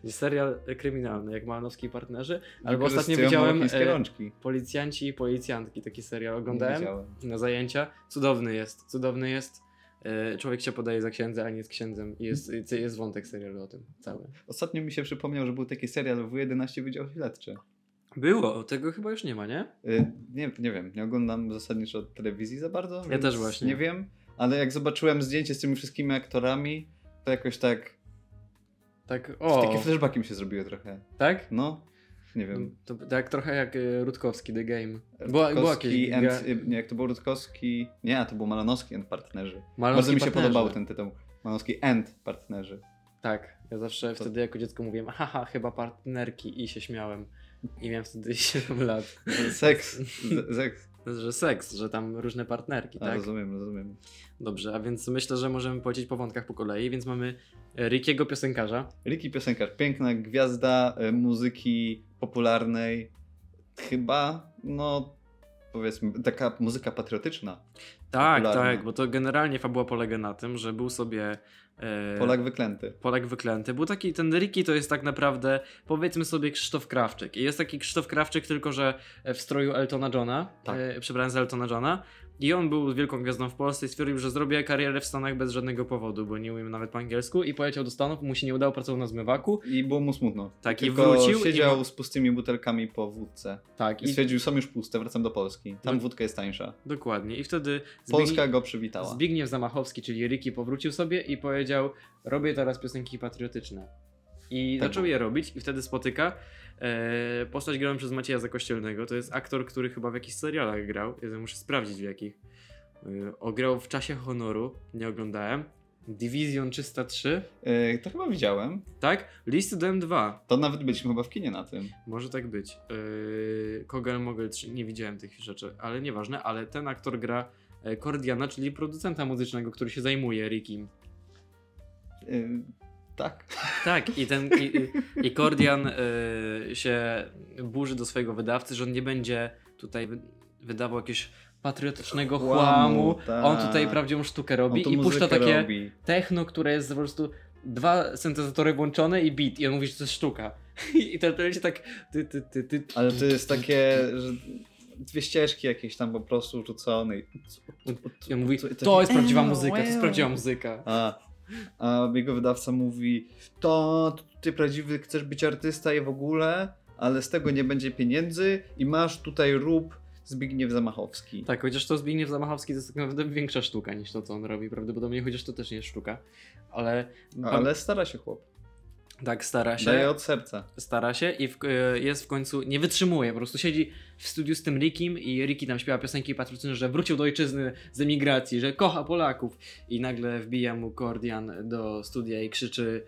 Serial kryminalny, jak Malanowski i partnerzy, albo ostatnio
Wykorzystują
widziałem
małopolskie
e,
rączki.
Policjanci i Policjantki, taki serial oglądałem.
Widziałem.
na zajęcia. Cudowny jest, cudowny jest. E, Człowiek się podaje za księdza, a nie jest księdzem. I Jest, i jest wątek serialu o tym cały.
Ostatnio mi się przypomniał, że był taki serial W11 Wydział Śledczy.
Było, tego chyba już nie ma, nie?
Y, Nie, nie wiem, nie oglądam zasadniczo telewizji za bardzo.
Ja
więc
też właśnie.
Nie wiem, ale jak zobaczyłem zdjęcie z tymi wszystkimi aktorami, to jakoś tak.
Tak,
O.
o,
Takie flashbacki mi się zrobiły trochę.
tak?
No, nie wiem.
To, tak trochę jak e, Rutkowski, The Game. Była, była
Rutkowski
jakieś...
and,
gra-
y, nie, jak to było Rutkowski. Nie, a to był Malanowski and Partnerzy.
Malanowski
bardzo mi się
Partnerzy.
podobał ten tytuł. Malanowski and Partnerzy.
Tak, ja zawsze
To-
wtedy jako dziecko mówiłem, haha, chyba partnerki i się śmiałem. I miałem wtedy 7 lat.
Seks. z- Seks.
Że seks, że tam różne partnerki,
A,
tak?
Rozumiem, rozumiem.
Dobrze, a więc myślę, że możemy polecieć po wątkach po kolei, więc mamy e, Rickiego piosenkarza.
Ricky piosenkarz, piękna gwiazda y, muzyki popularnej. Chyba, no powiedzmy, taka muzyka patriotyczna.
Tak,
popularna.
tak, bo to generalnie fabuła polega na tym, że był sobie e,
Polak wyklęty.
Polak wyklęty. Był taki, ten Ricky to jest tak naprawdę, powiedzmy sobie, Krzysztof Krawczyk. I jest taki Krzysztof Krawczyk, tylko że w stroju Eltona Johna,
Tak.
e, przebrany za Eltona Johna. I on był wielką gwiazdą w Polsce i stwierdził, że zrobię karierę w Stanach bez żadnego powodu, bo nie umiem nawet po angielsku i pojechał do Stanów, mu się nie udało, pracował na zmywaku.
I było mu smutno.
Tak, i
Tylko
wrócił i
siedział
ma-
z pustymi butelkami po wódce.
Tak,
I
i
stwierdził, są już puste, wracam do Polski. Tam
No.
wódka jest tańsza.
dokładnie. I wtedy
Polska go przywitała.
Zbigniew Zamachowski, czyli Ryki, powrócił sobie i powiedział: Robię teraz piosenki patriotyczne. I
Tak
zaczął
było.
je robić, i wtedy spotyka e, postać graną przez Macieja Zakościelnego. To jest aktor, który chyba w jakichś serialach grał. Ja to muszę sprawdzić w jakich. E, ograł w czasie honoru, nie oglądałem. Division 303,
Yy, to chyba widziałem.
tak? List do M2,
To nawet byliśmy chyba w kinie na tym.
może tak być. E, Kogel Mogel 3, nie widziałem tych rzeczy, ale nieważne. Ale ten aktor gra e, Kordiana, czyli producenta muzycznego, który się zajmuje Rikim.
Yy, tak.
Tak, i ten i, i- i Kordian y, się burzy do swojego wydawcy, że on nie będzie tutaj wy, wydawał jakiegoś patriotycznego
Chłamu,
chłamu.
tak.
On tutaj prawdziwą sztukę
On tu
robi i puszcza
muzykę
takie
robi.
techno, które jest po prostu dwa syntezatory włączone i beat. I on mówi, że to jest sztuka. I to leci tak ty, ty, ty, ty.
Ale to jest takie, że dwie ścieżki jakieś tam po prostu rzucone. i-
I on mówi,
to- to-
to jest prawdziwa
Ew,
muzyka, to jest
wow.
prawdziwa muzyka.
A, a jego wydawca mówi, to ty prawdziwy chcesz być artysta i w ogóle, ale z tego nie będzie pieniędzy i masz tutaj rób Zbigniew Zamachowski.
Tak, chociaż to Zbigniew Zamachowski to jest tak naprawdę większa sztuka niż to, co on robi prawdopodobnie, chociaż to też nie jest sztuka. Ale,
No, Ale stara się chłop.
tak stara się.
Daje od serca.
stara się i w, y, jest w końcu, nie wytrzymuje, po prostu siedzi w studiu z tym Rikim i Riki tam śpiewa piosenki patryczne, że wrócił do ojczyzny z emigracji, że kocha Polaków i nagle wbija mu Kordian do studia i krzyczy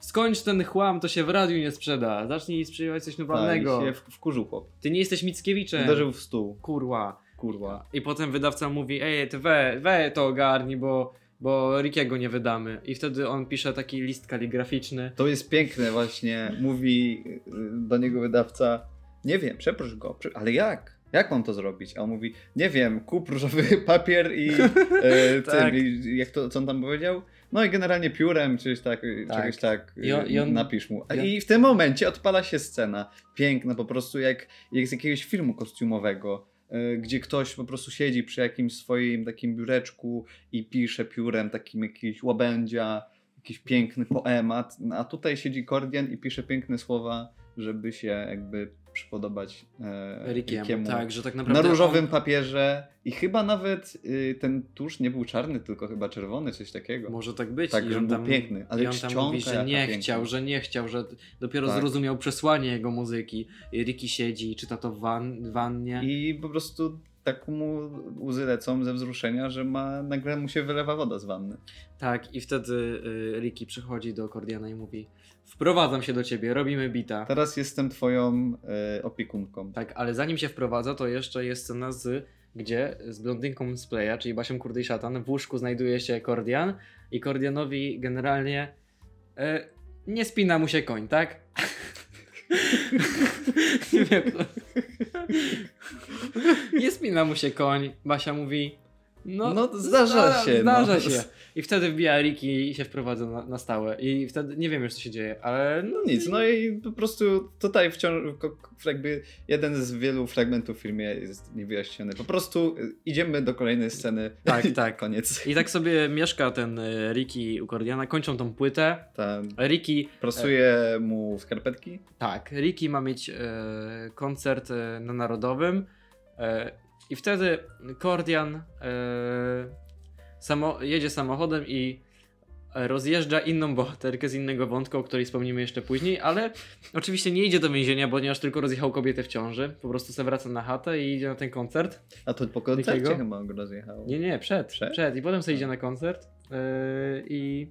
skończ ten chłam, to się w radiu nie sprzeda, zacznij sprzedawać coś
Tak, i
normalnego,
się w- wkurzył chłop.
ty nie jesteś Mickiewiczem,
Uderzył w stół.
kurła.
Kurwa.
I potem wydawca mówi, ej, ty we, we to ogarnij, bo, bo Rikiego nie wydamy i wtedy on pisze taki list kaligraficzny,
To jest piękne właśnie. Mówi y, do niego wydawca, nie wiem, przeproś go, prze- ale jak? Jak mam to zrobić? A on mówi, nie wiem, kup różowy papier i e,
Tak.
ten, i jak to, co on tam powiedział? No i generalnie piórem, czyś tak, y,
Tak.
czegoś tak,
I on-
y,
i on-
napisz mu. A
i on-
I w tym momencie odpala się scena, piękna, po prostu jak, jak z jakiegoś filmu kostiumowego, y, gdzie ktoś po prostu siedzi przy jakimś swoim takim biureczku i pisze piórem takim jakiś łabędzia, jakiś piękny poemat, no a tutaj siedzi Kordian i pisze piękne słowa, żeby się jakby przypodobać e,
Rikiemu,
Rickiemu.
tak, że tak
Na
naprawdę
różowym
on-
papierze i chyba nawet y, ten tusz nie był czarny, tylko chyba czerwony, coś takiego.
Może tak być.
tak,
I
że
on
był
tam,
piękny, ale
i on tam
czcionka
mówi, że
jaka
nie
piękna.
chciał, że nie chciał, że dopiero
Tak.
zrozumiał przesłanie jego muzyki. I Ricky siedzi i czyta to w wan, wannie.
I po prostu tak mu łzy lecą ze wzruszenia, że ma, nagle mu się wylewa woda z wanny.
Tak, i wtedy y, Ricky przychodzi do Kordiana i mówi wprowadzam się do ciebie, robimy bita.
Teraz jestem twoją y, opiekunką.
Tak, ale zanim się wprowadza, to jeszcze jest scena z gdzie z blondynką z Playa, czyli Basią Kurdej Szatan, w łóżku znajduje się Kordian i Kordianowi generalnie e, nie spina mu się koń, tak? nie wiem. co- nie spina mu się koń. Basia mówi no,
No, zdarza
zda-
się,
Zdarza
no.
się. I wtedy wbija Riki i się wprowadza na, na stałe. I wtedy nie wiem już co się dzieje, ale no,
No nic, no i po prostu tutaj wciąż ko- ko- jakby jeden z wielu fragmentów w filmie jest niewyjaśniony. Po prostu y, idziemy do kolejnej sceny.
Tak,
I
tak.
Koniec.
I tak sobie mieszka ten e, Ricky u Kordiana, kończą tą płytę.
Tam
Ricky,
prosuje mu skarpetki.
tak, Ricky ma mieć e, koncert e, na Narodowym e, i wtedy Kordian e, samo, jedzie samochodem i rozjeżdża inną bohaterkę z innego wątku, o której wspomnimy jeszcze później, ale oczywiście nie idzie do więzienia, ponieważ tylko rozjechał kobietę w ciąży, po prostu se wraca na chatę i idzie na ten koncert.
A to po koncercie
Jakiego?
chyba go rozjechało.
Nie, nie, przed, przed,
Przed?
i potem sobie idzie na koncert e, i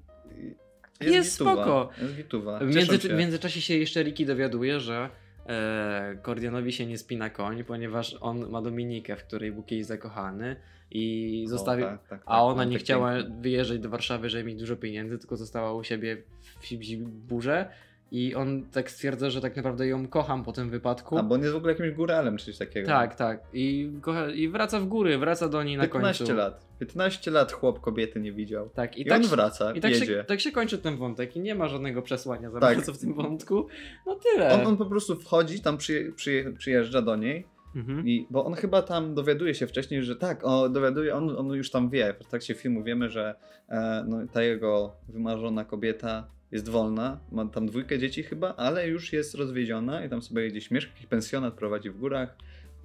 I-
Jest
gituwa,
spoko.
Jest gituwa.
W,
Cieszą
między,
Tak, się.
w międzyczasie się jeszcze Ricky dowiaduje, że e, Kordianowi się nie spina koń, ponieważ on ma Dominikę, w której był kiedyś zakochany i
O,
zostawił.
tak, tak, tak,
A ona nie
tak
chciała
pięknie.
wyjeżdżać do Warszawy, żeby mieć dużo pieniędzy, tylko została u siebie w Sibzi burze. I on tak stwierdza, że tak naprawdę ją kocham po tym wypadku.
A bo on jest w ogóle jakimś góralem czy coś takiego.
Tak, tak. I, kocha, I wraca w góry, wraca do niej na
15
końcu.
lat. 15 lat chłop kobiety nie widział.
Tak, i,
I,
tak,
on
się-
wraca,
i tak,
jedzie.
się, tak się kończy ten wątek i nie ma żadnego przesłania za
Tak.
bardzo w tym wątku. No tyle.
On, on po prostu wchodzi, tam przyje, przyje, przyjeżdża do niej,
Mhm.
I, bo on chyba tam dowiaduje się wcześniej, że tak, o, dowiaduje, on, on już tam wie, w trakcie filmu wiemy, że e, no, ta jego wymarzona kobieta jest wolna, ma tam dwójkę dzieci chyba, ale już jest rozwiedziona i tam sobie gdzieś mieszka, jakiś pensjonat prowadzi w górach.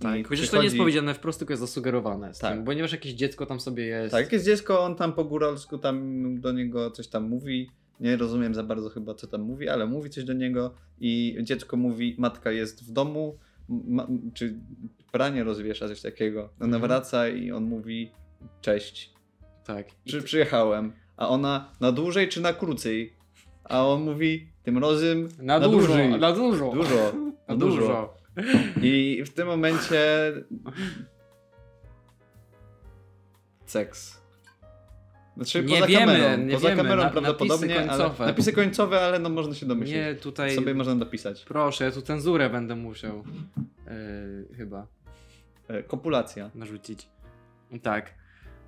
i
Tak, chociaż to nie
przychodzi-
jest powiedziane wprost, tylko jest zasugerowane z
Tak.
tym, ponieważ jakieś dziecko tam sobie jest.
Tak, jest dziecko, on tam po góralsku tam do niego coś tam mówi. Nie rozumiem za bardzo chyba, co tam mówi, ale mówi coś do niego i dziecko mówi, matka jest w domu, ma, czy pranie rozwiesza, coś takiego. Ona
Mhm.
wraca i on mówi, cześć,
tak. I
czy
ty-
przyjechałem? A ona, na dłużej czy na krócej? A on mówi, tym razem
Na, dużo,
dłużej.
na dużo.
dużo,
Na dużo.
I w tym momencie. Seks. Znaczy,
Nie
poza
wiemy,
kamerą,
nie
poza
wiemy,
kamerą
na-
prawdopodobnie.
napisy końcowe.
Ale, napisy końcowe, ale no można się domyślić.
Nie, tutaj.
Sobie można dopisać.
Proszę, ja tu cenzurę będę musiał. Yy, chyba
E, Kopulacja.
narzucić. Tak.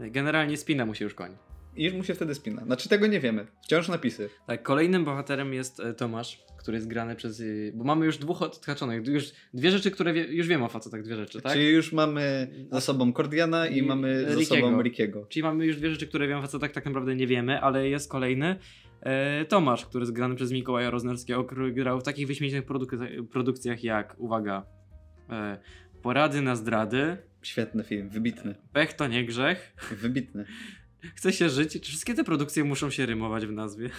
Generalnie spina mu się już koń.
I już mu się wtedy spina. Znaczy, tego nie wiemy. Wciąż napisy.
Tak, kolejnym bohaterem jest e, Tomasz, który jest grany przez. e, Bo mamy już dwóch odhaczonych. Już dwie rzeczy, które wie, już wiem o facetach, dwie rzeczy, tak?
Czyli już mamy za sobą Kordiana i,
I
mamy za
Rickiego.
sobą Rickiego.
Czyli mamy już dwie rzeczy, które wiem o facetach, tak naprawdę nie wiemy, ale jest kolejny. E, Tomasz, który jest grany przez Mikołaja Roznerskiego, który grał w takich wyśmienitych produk- produkcjach jak, uwaga, e, Porady na zdrady,
Świetny film, wybitny.
Pech to nie grzech,
Wybitny.
Chce się żyć. Czy wszystkie te produkcje muszą się rymować w nazwie?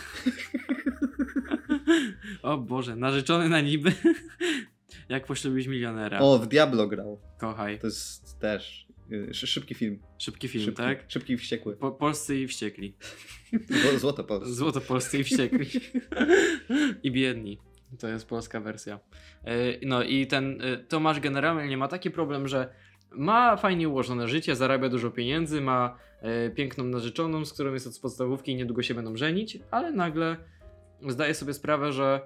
o Boże, narzeczony na niby. Jak poślubić milionera?
O, w Diablo grał.
Kochaj.
To jest też y, szy- szybki film.
Szybki film,
szybki,
tak?
szybki i wściekły.
Po, polscy i wściekli.
Zło- Złoto polskie.
Złoto polscy i wściekli. I biedni. To jest polska wersja. E, No i ten e, Tomasz generalnie ma taki problem, że ma fajnie ułożone życie, zarabia dużo pieniędzy, ma e, piękną narzeczoną, z którą jest od podstawówki i niedługo się będą żenić, ale nagle zdaje sobie sprawę, że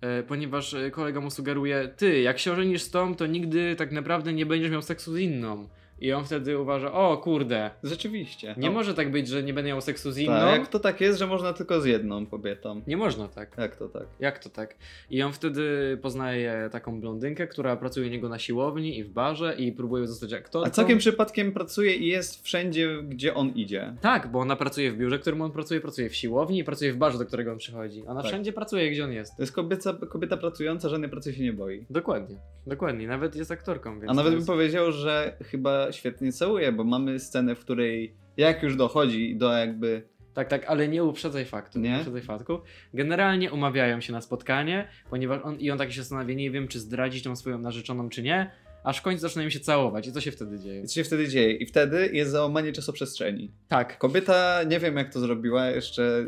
e, ponieważ e, kolega mu sugeruje, ty, jak się ożenisz z tą, to nigdy tak naprawdę nie będziesz miał seksu z inną. I on wtedy uważa, o kurde,
Rzeczywiście.
nie
O,
może tak być, że nie będę miał seksu z inną.
No. Tak, jak to tak jest, że można tylko z jedną kobietą.
Nie można tak.
Jak to tak?
Jak to tak? I on wtedy poznaje taką blondynkę, która pracuje u niego na siłowni i w barze i próbuje zostać aktorką.
A całkiem przypadkiem pracuje i jest wszędzie, gdzie on idzie.
Tak, bo ona pracuje w biurze, w którym on pracuje, pracuje w siłowni i pracuje w barze, do którego on przychodzi. Ona
Tak.
wszędzie pracuje, gdzie on jest.
To jest kobieta, kobieta pracująca, żadnej pracy się nie boi.
Dokładnie, dokładnie. Nawet jest aktorką, więc...
A
to
nawet bym
jest...
powiedział, że chyba świetnie całuje, bo mamy scenę, w której jak już dochodzi do jakby.
Tak, tak, ale nie uprzedzaj faktu. Nie?
Nie?
Uprzedzaj faktu. Generalnie umawiają się na spotkanie, ponieważ on i on tak się zastanawia, nie wiem, czy zdradzi tą swoją narzeczoną, czy nie, aż w końcu zaczynają się całować. I co się wtedy dzieje?
Co się wtedy dzieje? I wtedy jest załamanie czasoprzestrzeni.
Tak,
Kobieta, nie wiem jak to zrobiła, jeszcze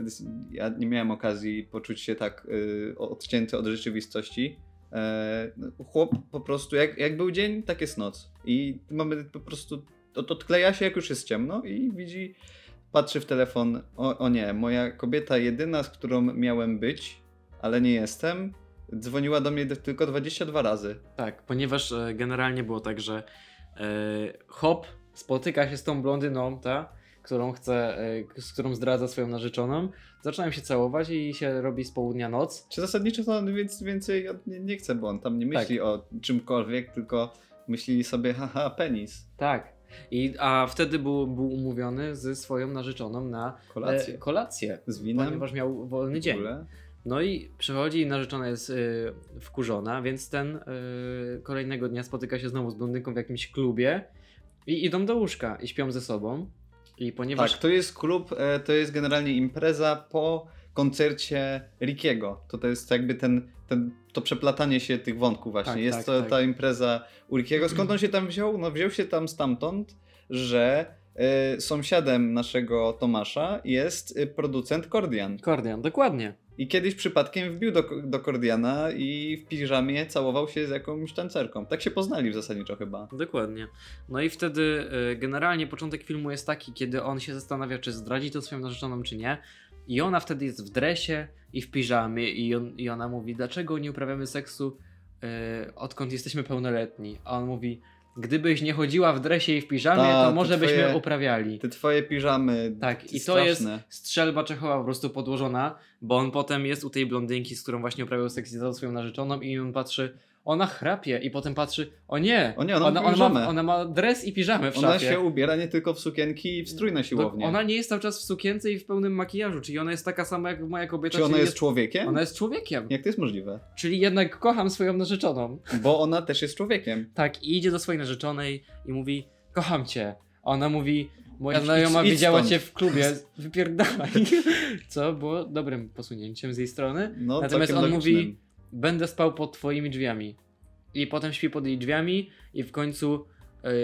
ja nie miałem okazji poczuć się tak y, odcięty od rzeczywistości. E, no, chłop po prostu, jak, jak był dzień, tak jest noc. I mamy po prostu, od, odkleja się jak już jest ciemno i widzi, patrzy w telefon, o, o nie, moja kobieta jedyna, z którą miałem być, ale nie jestem, dzwoniła do mnie d- tylko 22 razy.
Tak, ponieważ e, generalnie było tak, że e, Hop spotyka się z tą blondyną, ta, którą chce, e, k- z którą zdradza swoją narzeczoną, zaczynają się całować i się robi z południa noc.
Czy zasadniczo to on więc więcej od- nie, nie chce, bo on tam nie myśli
Tak.
o czymkolwiek, tylko myśli sobie, haha, penis.
Tak. I, a wtedy był, był umówiony ze swoją narzeczoną na
Kolację.
E, kolację
z winem.
ponieważ miał wolny
W
dzień.
ogóle.
No i przychodzi i narzeczona jest y, wkurzona, więc ten y, kolejnego dnia spotyka się znowu z blondynką w jakimś klubie i idą do łóżka i śpią ze sobą. I ponieważ
Tak, to jest klub, e, to jest generalnie impreza po koncercie Rickiego. To, to jest jakby ten, ten, to przeplatanie się tych wątków właśnie.
Tak,
jest
tak,
to
tak.
ta impreza u Rickiego. Skąd on się tam wziął? No wziął się tam stamtąd, że e, sąsiadem naszego Tomasza jest e, producent Kordian.
Kordian, dokładnie.
I kiedyś przypadkiem wbił do, do Kordiana i w piżamie całował się z jakąś tancerką. Tak się poznali w zasadniczo chyba.
Dokładnie. No i wtedy y, generalnie początek filmu jest taki, kiedy on się zastanawia, czy zdradzi to swoją narzeczoną, czy nie. I ona wtedy jest w dresie i w piżamie i, on, i ona mówi, dlaczego nie uprawiamy seksu y, odkąd jesteśmy pełnoletni? A on mówi, gdybyś nie chodziła w dresie i w piżamie,
Ta,
to
to
może
twoje-
byśmy uprawiali.
Te twoje piżamy.
Tak, i to
straszne.
jest strzelba Czechowa po prostu podłożona, bo on potem jest u tej blondynki, z którą właśnie uprawiał seks i zadał swoją narzeczoną i on patrzy, ona chrapie i potem patrzy, o nie,
O nie, ona ma
ma,
piżamę.
ona ma dres i piżamę w
Ona
szafie. No,
się ubiera nie tylko w sukienki i w strój na siłownię.
Ona nie jest cały czas w sukience i w pełnym makijażu, czyli ona jest taka sama jak moja kobieta.
Czy ona
czyli
jest człowiekiem?
Ona jest człowiekiem,
Jak to jest możliwe?
czyli jednak kocham swoją narzeczoną.
Bo ona też jest człowiekiem.
Tak, i idzie do swojej narzeczonej i mówi, kocham cię. A Ona mówi, moja
Idź-
znajoma
idź- idź
widziała
stąd.
cię w klubie, wypierdalaj. Co było dobrym posunięciem z jej strony.
No,
Natomiast
całkiem
on
logicznym.
mówi, będę spał pod twoimi drzwiami. I potem śpi pod jej drzwiami i w końcu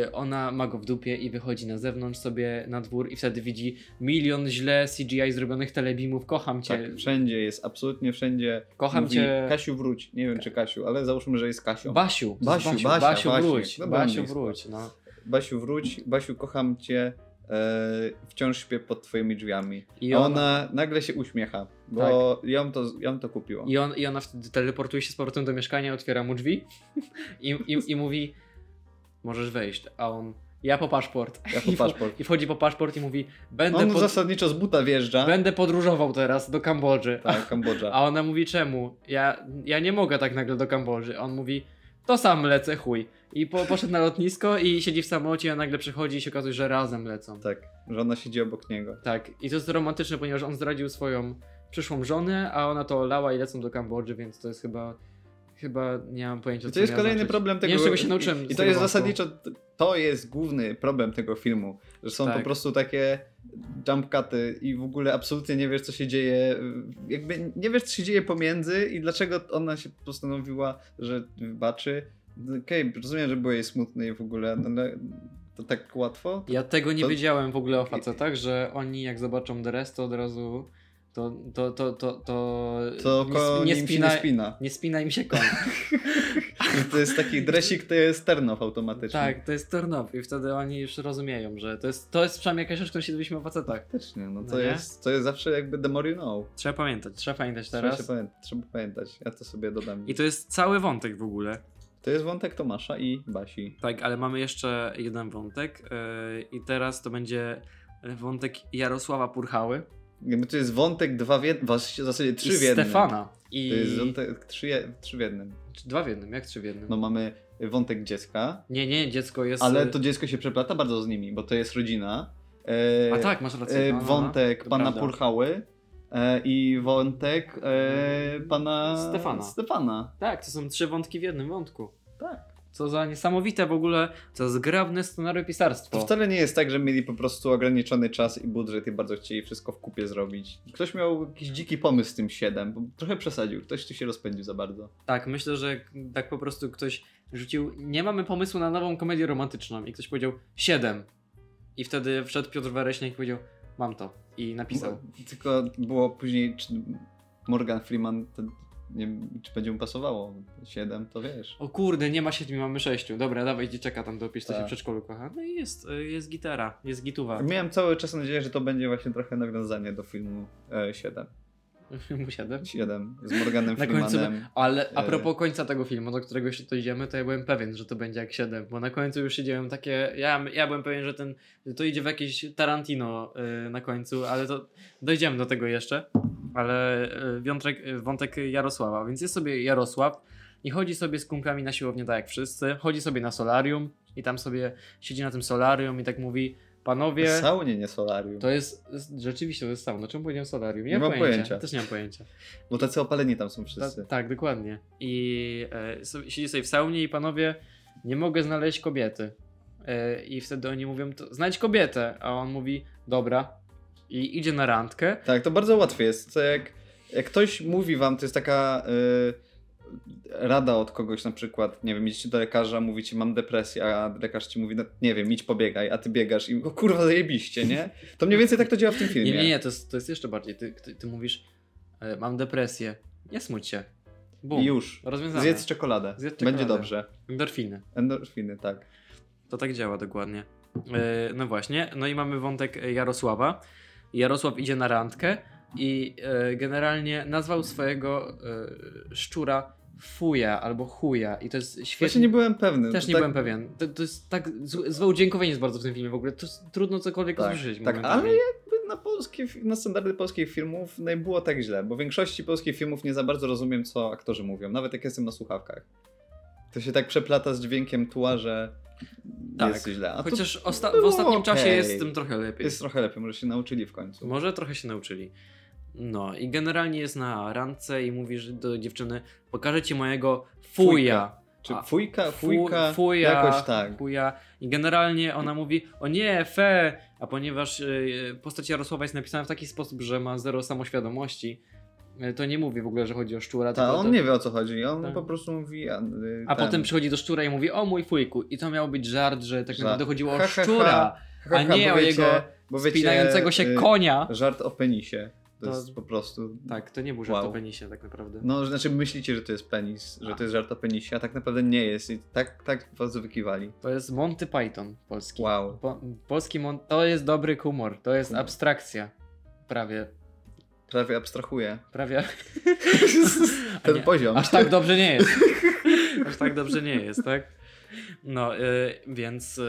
y, ona ma go w dupie i wychodzi na zewnątrz sobie na dwór i wtedy widzi milion źle CGI zrobionych telebimów. Kocham cię,
Tak, wszędzie jest, absolutnie wszędzie.
kocham
mówi,
cię.
Kasiu wróć. Nie wiem czy Kasiu, ale załóżmy, że jest Kasią.
Basiu, to jest
Basiu,
Basiu, Basiu,
Basia, Basiu.
wróć,
No,
Basiu
byłem
wróć, no.
Basiu wróć, Basiu kocham cię, e, wciąż śpię pod twoimi drzwiami.
I
I ona...
ona, Tak.
nagle się uśmiecha, bo ją, to, ją to kupiło.
i, on, I ona wtedy teleportuje się z powrotem do mieszkania, otwiera mu drzwi i, i, i mówi, możesz wejść, a on, ja po paszport.
Jako
I, w,
paszport.
I wchodzi po paszport i mówi, będę
On
pod...
zasadniczo z buta wjeżdża.
Będę podróżował teraz do Kambodży.
Tak, Kambodża.
A ona mówi czemu? Ja, ja nie mogę tak nagle do Kambodży. A On mówi, to sam lecę, chuj. I po, poszedł na lotnisko i siedzi w samolocie, a nagle przychodzi i się okazuje, że razem lecą.
Tak, że ona siedzi obok niego.
Tak, i to jest romantyczne, ponieważ on zdradził swoją przyszłą żonę, a ona to olała i lecą do Kambodży, więc to jest chyba. Chyba nie mam pojęcia.
I
co
to jest
miała
kolejny
znaczyć.
problem tego
Nie wiem, czego się nauczyłem. z
I, i to
tego
jest
wątku.
zasadniczo, to jest główny problem tego filmu, że są
Tak.
po prostu takie jump cuty i w ogóle absolutnie nie wiesz co się dzieje, jakby nie wiesz co się dzieje pomiędzy i dlaczego ona się postanowiła, że wybaczy. Okej, rozumiem, że było jej smutne i w ogóle, no, ale to tak łatwo?
Ja tego nie
To-
wiedziałem w ogóle o facetach, że oni jak zobaczą dres, to od razu. To. To. To. To. To.
To
nie,
koło
sp-
nim
nie,
się nie
spina,
spina.
nie spina im się koń.
I to jest taki dresik, to jest turn-off automatycznie.
Tak, to jest turn off i wtedy oni już rozumieją, że to jest, to jest przynajmniej jakaś rzecz, którą się dowiedzieliśmy o facetach.
Faktycznie, no to,
No nie?
jest, to jest zawsze jakby the more you know.
Trzeba pamiętać, trzeba pamiętać
Trzeba, się
teraz.
pamię- trzeba pamiętać, ja to sobie dodam.
I to jest cały wątek w ogóle.
To jest wątek Tomasza i Basi.
Tak, ale mamy jeszcze jeden wątek yy, i teraz to będzie wątek Jarosława Purchały
Jakby to jest wątek dwa w jednym, w zasadzie trzy
i
w jednym.
Stefana.
To
I
jest wątek trzy, je- trzy w jednym.
Czy dwa w jednym, jak trzy w jednym?
No mamy wątek dziecka,
Nie, nie, dziecko jest...
ale
y,
to dziecko się przeplata bardzo z nimi, bo to jest rodzina. E,
A tak, masz rację.
e,
no, no, no.
wątek
To
pana
prawda.
Purchały e, i wątek e, pana
Mm, Stefana.
Stefana.
Tak, to są trzy wątki w jednym wątku.
Tak.
Co za niesamowite w ogóle, co zgrabne scenariopisarstwo.
To wcale nie jest tak, że mieli po prostu ograniczony czas i budżet i bardzo chcieli wszystko w kupie zrobić. Ktoś miał jakiś dziki pomysł z tym 7, bo trochę przesadził, ktoś tu się rozpędził za bardzo.
Tak, myślę, że tak po prostu ktoś rzucił. Nie mamy pomysłu na nową komedię romantyczną. I ktoś powiedział 7. I wtedy wszedł Piotr Wereśniak i powiedział: Mam to. I napisał.
Bo- Tylko było później, czy Morgan Freeman, to nie wiem, czy będzie mu pasowało. 7 to wiesz.
O kurde, nie ma siedmiu, mamy sześciu. Dobra, dawaj dzieciaka tam dopisz, co się w
Tak.
przedszkolu kocha. No i jest, y, jest gitara, jest gituwa.
Miałem cały czas nadzieję, że to będzie właśnie trochę nawiązanie do filmu e, 7.
Mu siedem.
7 z Morganem
Na końcu-
Freemanem.
Ale a
E.
propos końca tego filmu, do którego się to idziemy, to ja byłem pewien, że to będzie jak 7, bo na końcu już siedziałem takie. Ja, ja byłem pewien, że ten. Że to idzie w jakieś Tarantino y, na końcu, ale to dojdziemy do tego jeszcze. Ale y, wiątrek, y, wątek Jarosława, więc jest sobie Jarosław i chodzi sobie z kumkami na siłownię, tak jak wszyscy. Chodzi sobie na solarium i tam sobie siedzi na tym solarium i tak mówi: Panowie.
W saunie, nie solarium.
To jest rzeczywiście to jest sauna. Czemu powiedziałem solarium?
Nie mam pojęcia.
Też nie mam pojęcia.
Bo tacy opaleni tam są
Ta,
wszyscy.
tak, dokładnie. I e, so- siedzi sobie w saunie i panowie, nie mogę znaleźć kobiety. E, I wtedy oni mówią, to znajdź kobietę. A on mówi, dobra. I idzie na randkę.
Tak, to bardzo łatwe jest. To jak, jak ktoś mówi wam, to jest taka y, rada od kogoś na przykład, nie wiem, idziecie do lekarza, mówicie mam depresję, a lekarz ci mówi, no, nie wiem, idź pobiegaj, a ty biegasz i o kurwa zajebiście, nie? To mniej więcej tak to działa w tym filmie.
Nie, nie, nie, to jest, to jest jeszcze bardziej. Ty, ty, ty mówisz, e, mam depresję. Nie smuć się. Bum.
I już.
Rozwiązane.
Zjedz czekoladę.
Zjedz
Będzie
czekoladę.
dobrze.
Endorfiny.
Endorfiny, tak.
To tak działa dokładnie. E, No właśnie, no i mamy wątek Jarosława. Jarosław idzie na randkę i e, generalnie nazwał swojego e, szczura fuja albo chuja i to jest
Właśnie
świetnie.
nie byłem pewny.
Też
To
nie
tak,
byłem pewien. To, to jest tak złe, złe udziękowanie jest bardzo w tym filmie w ogóle. To jest trudno cokolwiek
Tak,
usłyszeć.
tak,
momentami.
ale jakby na, polskie, fi- na standardy polskich filmów nie było tak źle, bo w większości polskich filmów nie za bardzo rozumiem, co aktorzy mówią, nawet jak jestem na słuchawkach. To się tak przeplata z dźwiękiem tła, że
Tak.
jest źle. A
Chociaż osta- w
było
ostatnim czasie
okej.
jest z tym trochę
tu
lepiej.
jest trochę lepiej, może się nauczyli w końcu.
Może trochę się nauczyli. No i generalnie jest na randce i mówisz do dziewczyny, pokażę ci mojego fuja.
Czy
A,
fujka,
Fu-
fujka, jakoś tak.
Fuja. I generalnie ona mówi, o nie, fe, a ponieważ y, postać Jarosława jest napisana w taki sposób, że ma zero samoświadomości, y, to nie mówi w ogóle, że chodzi o szczura.
Ta,
tylko
on
to-
nie wie o co chodzi, on
Tak.
po prostu mówi... A, y,
A
ten,
potem przychodzi do szczura i mówi, o mój fujku. I to miał być żart, że tak
Żart.
naprawdę chodziło
Ha,
o
ha, ha.
szczura,
ha, ha,
a nie
bo
o jego
bo wiecie,
spinającego się
y,
konia.
Żart o penisie. To,
To-
jest po prostu...
Tak, to nie był żart
Wow.
o penisie tak naprawdę.
No, znaczy myślicie, że to jest penis, że
A.
to jest żart o penisie, a tak naprawdę nie jest. I tak, tak was wykiwali.
To jest Monty Python polski.
Wow.
Po, polski mon- to jest dobry humor, to jest
Humor.
abstrakcja. Prawie,
Prawie abstrahuję.
prawie. A
Ten
nie,
poziom.
Aż tak dobrze nie jest. Aż tak dobrze nie jest, tak? No, y, więc y,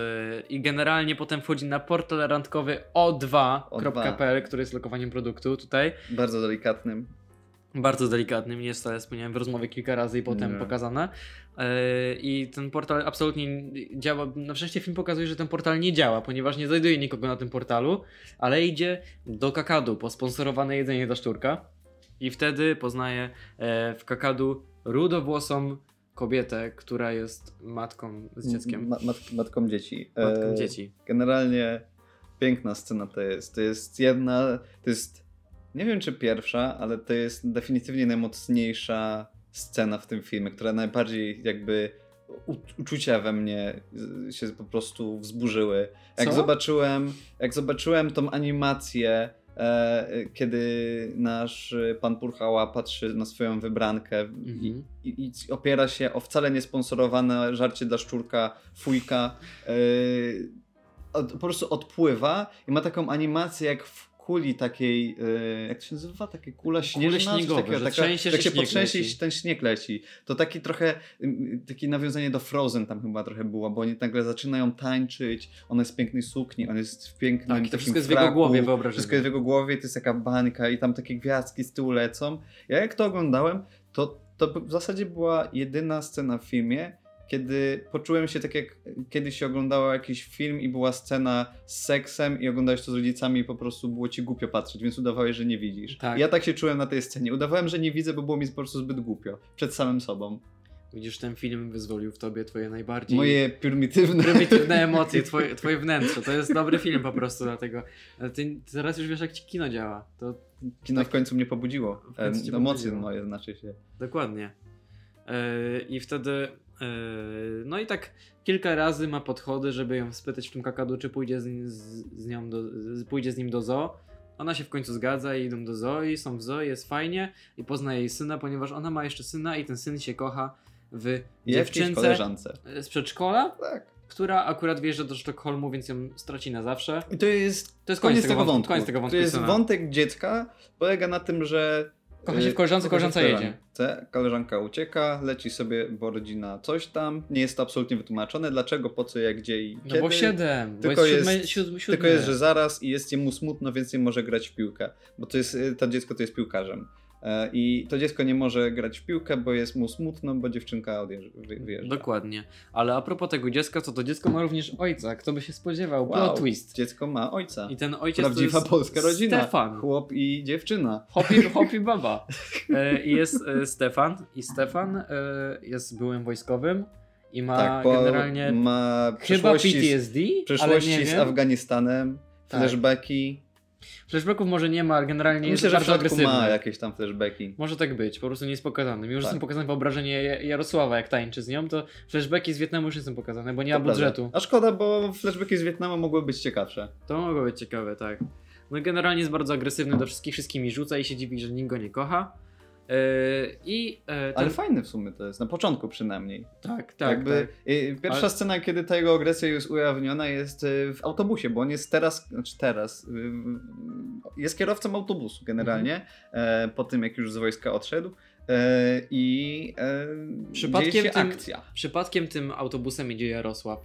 i generalnie potem wchodzi na portal randkowy o2.pl, który jest lokowaniem produktu tutaj.
Bardzo delikatnym.
Bardzo delikatnym, nie jest to, ja wspomniałem w rozmowie kilka razy i potem
Nie.
pokazane. Y, I ten portal absolutnie działa. Na szczęście film pokazuje, że ten portal nie działa, ponieważ nie znajduje nikogo na tym portalu, ale idzie do kakadu po sponsorowane jedzenie dla szczurka. I wtedy poznaje e, w kakadu rudowłosą kobietę, która jest matką z dzieckiem.
Ma- mat- matką dzieci.
matką
Mm, E,
dzieci.
Generalnie piękna scena to jest. To jest jedna, to jest, nie wiem czy pierwsza, ale to jest definitywnie najmocniejsza scena w tym filmie, która najbardziej jakby u- uczucia we mnie z- się po prostu wzburzyły. Jak
Co?
zobaczyłem, jak zobaczyłem tą animację, e, e, kiedy nasz e, pan Purchała patrzy na swoją wybrankę i,
Mhm.
i, i opiera się o wcale niesponsorowane żarcie dla szczurka, fujka. Yy, od, po prostu odpływa i ma taką animację jak w kuli takiej, yy, jak to się nazywa? Takie kula śnieżna? coś
śniegowe,
takiego,
że
taka,
trzęsie
jak
się
się
śnieg
potrzęsie i
leci.
ten śnieg leci. To taki trochę, yy, takie nawiązanie do Frozen tam chyba trochę było, bo oni nagle zaczynają tańczyć, ona jest w pięknej sukni, on jest w pięknym
Tak, i to
takim
wszystko jest w jego
fraku.
głowie, wyobrażenie.
Wszystko jest w jego głowie, to jest taka bańka i tam takie gwiazdki z tyłu lecą. Ja jak to oglądałem, to, to w zasadzie była jedyna scena w filmie, kiedy poczułem się tak jak kiedyś się oglądało jakiś film i była scena z seksem i oglądałeś to z rodzicami i po prostu było ci głupio patrzeć, więc udawałeś, że nie widzisz.
Tak.
Ja tak się czułem na tej scenie. Udawałem, że nie widzę, bo było mi po prostu zbyt głupio. Przed samym sobą.
Widzisz, ten film wyzwolił w tobie twoje najbardziej
Moje prymitywne...
prymitywne emocje, twoje, twoje wnętrze. To jest dobry film po prostu, dlatego. Ale ty, ty teraz już wiesz, jak ci kino działa. To tak
Kino w końcu mnie pobudziło.
W końcu cię
Em, Emocje
pobudziło.
moje, znaczy się.
dokładnie. Yy, I wtedy. yy, No i tak kilka razy ma podchody, żeby ją spytać w tym kakadu, czy pójdzie z, nim- z, z nią do, z, pójdzie z nim do zoo. Ona się w końcu zgadza i idą do zoo i są w zoo, jest fajnie i poznaje jej syna, ponieważ ona ma jeszcze syna i ten syn się kocha w
Dziewczynce...
dziewczynce
koleżance.
yy, z przedszkola,
Tak.
która akurat wjeżdża do Sztokholmu, więc ją straci na zawsze.
I to jest
To jest
Koniec, tego wątku.
Koniec tego wątku. No
To jest
Justyna.
wątek dziecka, polega na tym, że.
Kocha się w koleżance,
y,
koleżanka
kocha się w
jedzie.
koleżance, Koleżanka ucieka, leci sobie, bo rodzina coś tam. Nie jest to absolutnie wytłumaczone, dlaczego, po co, jak, gdzie i
No
kiedy.
bo siedem,
Tylko
bo jest, siódmy,
jest-
siódmy, siódmy.
Tylko jest, że zaraz i jest jemu smutno, więc nie może grać w piłkę, bo to jest, y, to dziecko to jest piłkarzem. E, I to dziecko nie może grać w piłkę, bo jest mu smutno, bo dziewczynka odjeżdża, wyjeżdża.
Dokładnie. Ale a propos tego dziecka, to to dziecko ma również ojca. Kto by się spodziewał?
Wow.
Plot twist.
Dziecko ma ojca.
I ten ojciec to
Prawdziwa
jest
polska rodzina.
Stefan.
Chłop i dziewczyna.
Hopi, hopi baba. E, I jest e, Stefan. I Stefan e, jest byłym wojskowym i ma
tak, bo
generalnie
ma
chyba
przeszłości z-
PTSD, ale nie
przeszłości z
wiem.
Afganistanem,
Tak.
flashbacki.
Flashbacków może nie ma, ale generalnie
Myślę,
jest
że w
bardzo
środku
agresywny.
ma jakieś tam flashbacki.
Może tak być, po prostu nie jest pokazany. Mimo, że
Tak.
są pokazane wyobrażenie Ja- Jarosława, jak tańczy z nią, to flashbacki z Wietnamu już nie są pokazane, bo nie ma
To prawda.
budżetu.
A szkoda, bo flashbacki z Wietnamu mogły być ciekawsze.
To mogło być ciekawe, tak. No generalnie jest bardzo agresywny do wszystkich, wszystkimi rzuca i się dziwi, że nikt go nie kocha. Yy, I yy, ten...
Ale fajne w sumie to jest, na początku przynajmniej.
tak, tak,
Jakby, y, Pierwsza
Ale-
scena, kiedy ta jego agresja jest ujawniona jest y, w autobusie, bo on jest teraz, znaczy teraz, y, y, jest kierowcą autobusu generalnie,
Mhm.
e, po tym jak już z wojska odszedł. e, I e,
Przypadkiem
dzieje się
tym-
akcja.
tak. Przypadkiem tym autobusem idzie Jarosław.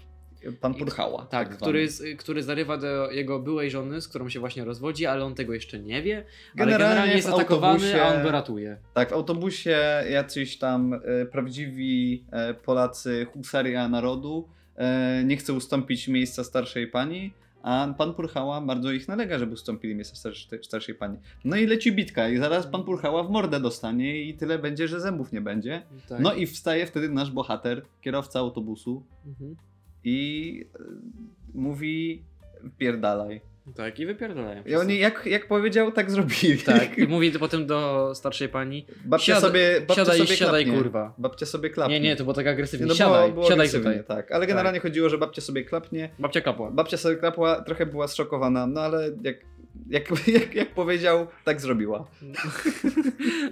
Pan Purchała.
Tak,
zwany.
który, z, który zarywa do jego byłej żony, z którą się właśnie rozwodzi, ale on tego jeszcze nie wie. Generalnie, ale
Generalnie
generalnie jest
w
atakowany,
autobusie-
a on go ratuje.
Tak, w autobusie jacyś tam e, prawdziwi e, Polacy, husaria narodu, e, nie chce ustąpić miejsca starszej pani, a pan Purchała bardzo ich nalega, żeby ustąpili miejsca starszej, starszej pani. No i leci bitka i zaraz pan Purchała w mordę dostanie i tyle będzie, że zębów nie będzie.
Tak.
No i wstaje wtedy nasz bohater, kierowca autobusu
Mhm.
i e, mówi pierdalaj.
Tak, i wypierdalają.
I oni jak, jak powiedział, tak zrobili.
Tak, i mówi to potem do starszej pani,
Babcia
Siada-
sobie, babcia
siadaj,
sobie
siadaj
klapnie.
kurwa.
Babcia sobie klapnie.
Nie, nie, to było tak agresywnie,
No,
siadaj,
było, było
siadaj
agresywnie,
tutaj.
Tak, ale generalnie chodziło, że babcia sobie klapnie.
Babcia kapła.
Babcia sobie klapła, trochę była zszokowana, no ale jak, jak, jak, jak powiedział, tak zrobiła.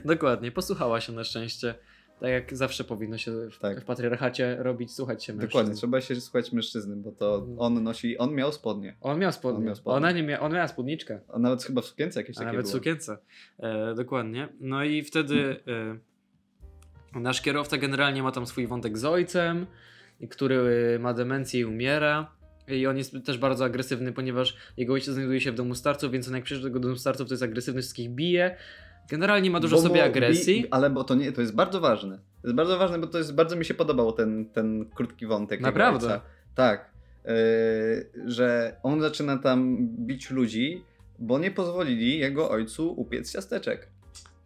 Dokładnie, posłuchała się na szczęście. Tak jak zawsze powinno się w,
Tak.
w patriarchacie robić, słuchać się mężczyzn.
Dokładnie, trzeba się słuchać mężczyzny, bo to
No.
on nosi, on miał spodnie.
On miał spodnie.
On miał spodnie.
Ona nie mia... on miała spódniczkę,
A nawet chyba w sukience jakieś
a
takie
nawet
było.
sukience. E, dokładnie. No i wtedy e, nasz kierowca generalnie ma tam swój wątek z ojcem, który e, ma demencję i umiera. I on jest też bardzo agresywny, ponieważ jego ojciec znajduje się w domu starców, więc on jak przyjeżdża do tego domu starców, to jest agresywny, wszystkich bije. Generalnie ma dużo
Bo
sobie
mu-
agresji.
bi- Ale bo to nie, to jest bardzo ważne. To jest bardzo ważne, bo to jest, bardzo mi się podobał ten, ten krótki wątek. jego
Naprawdę?
ojca. Tak. Yy, że on zaczyna tam bić ludzi, bo nie pozwolili jego ojcu upiec ciasteczek.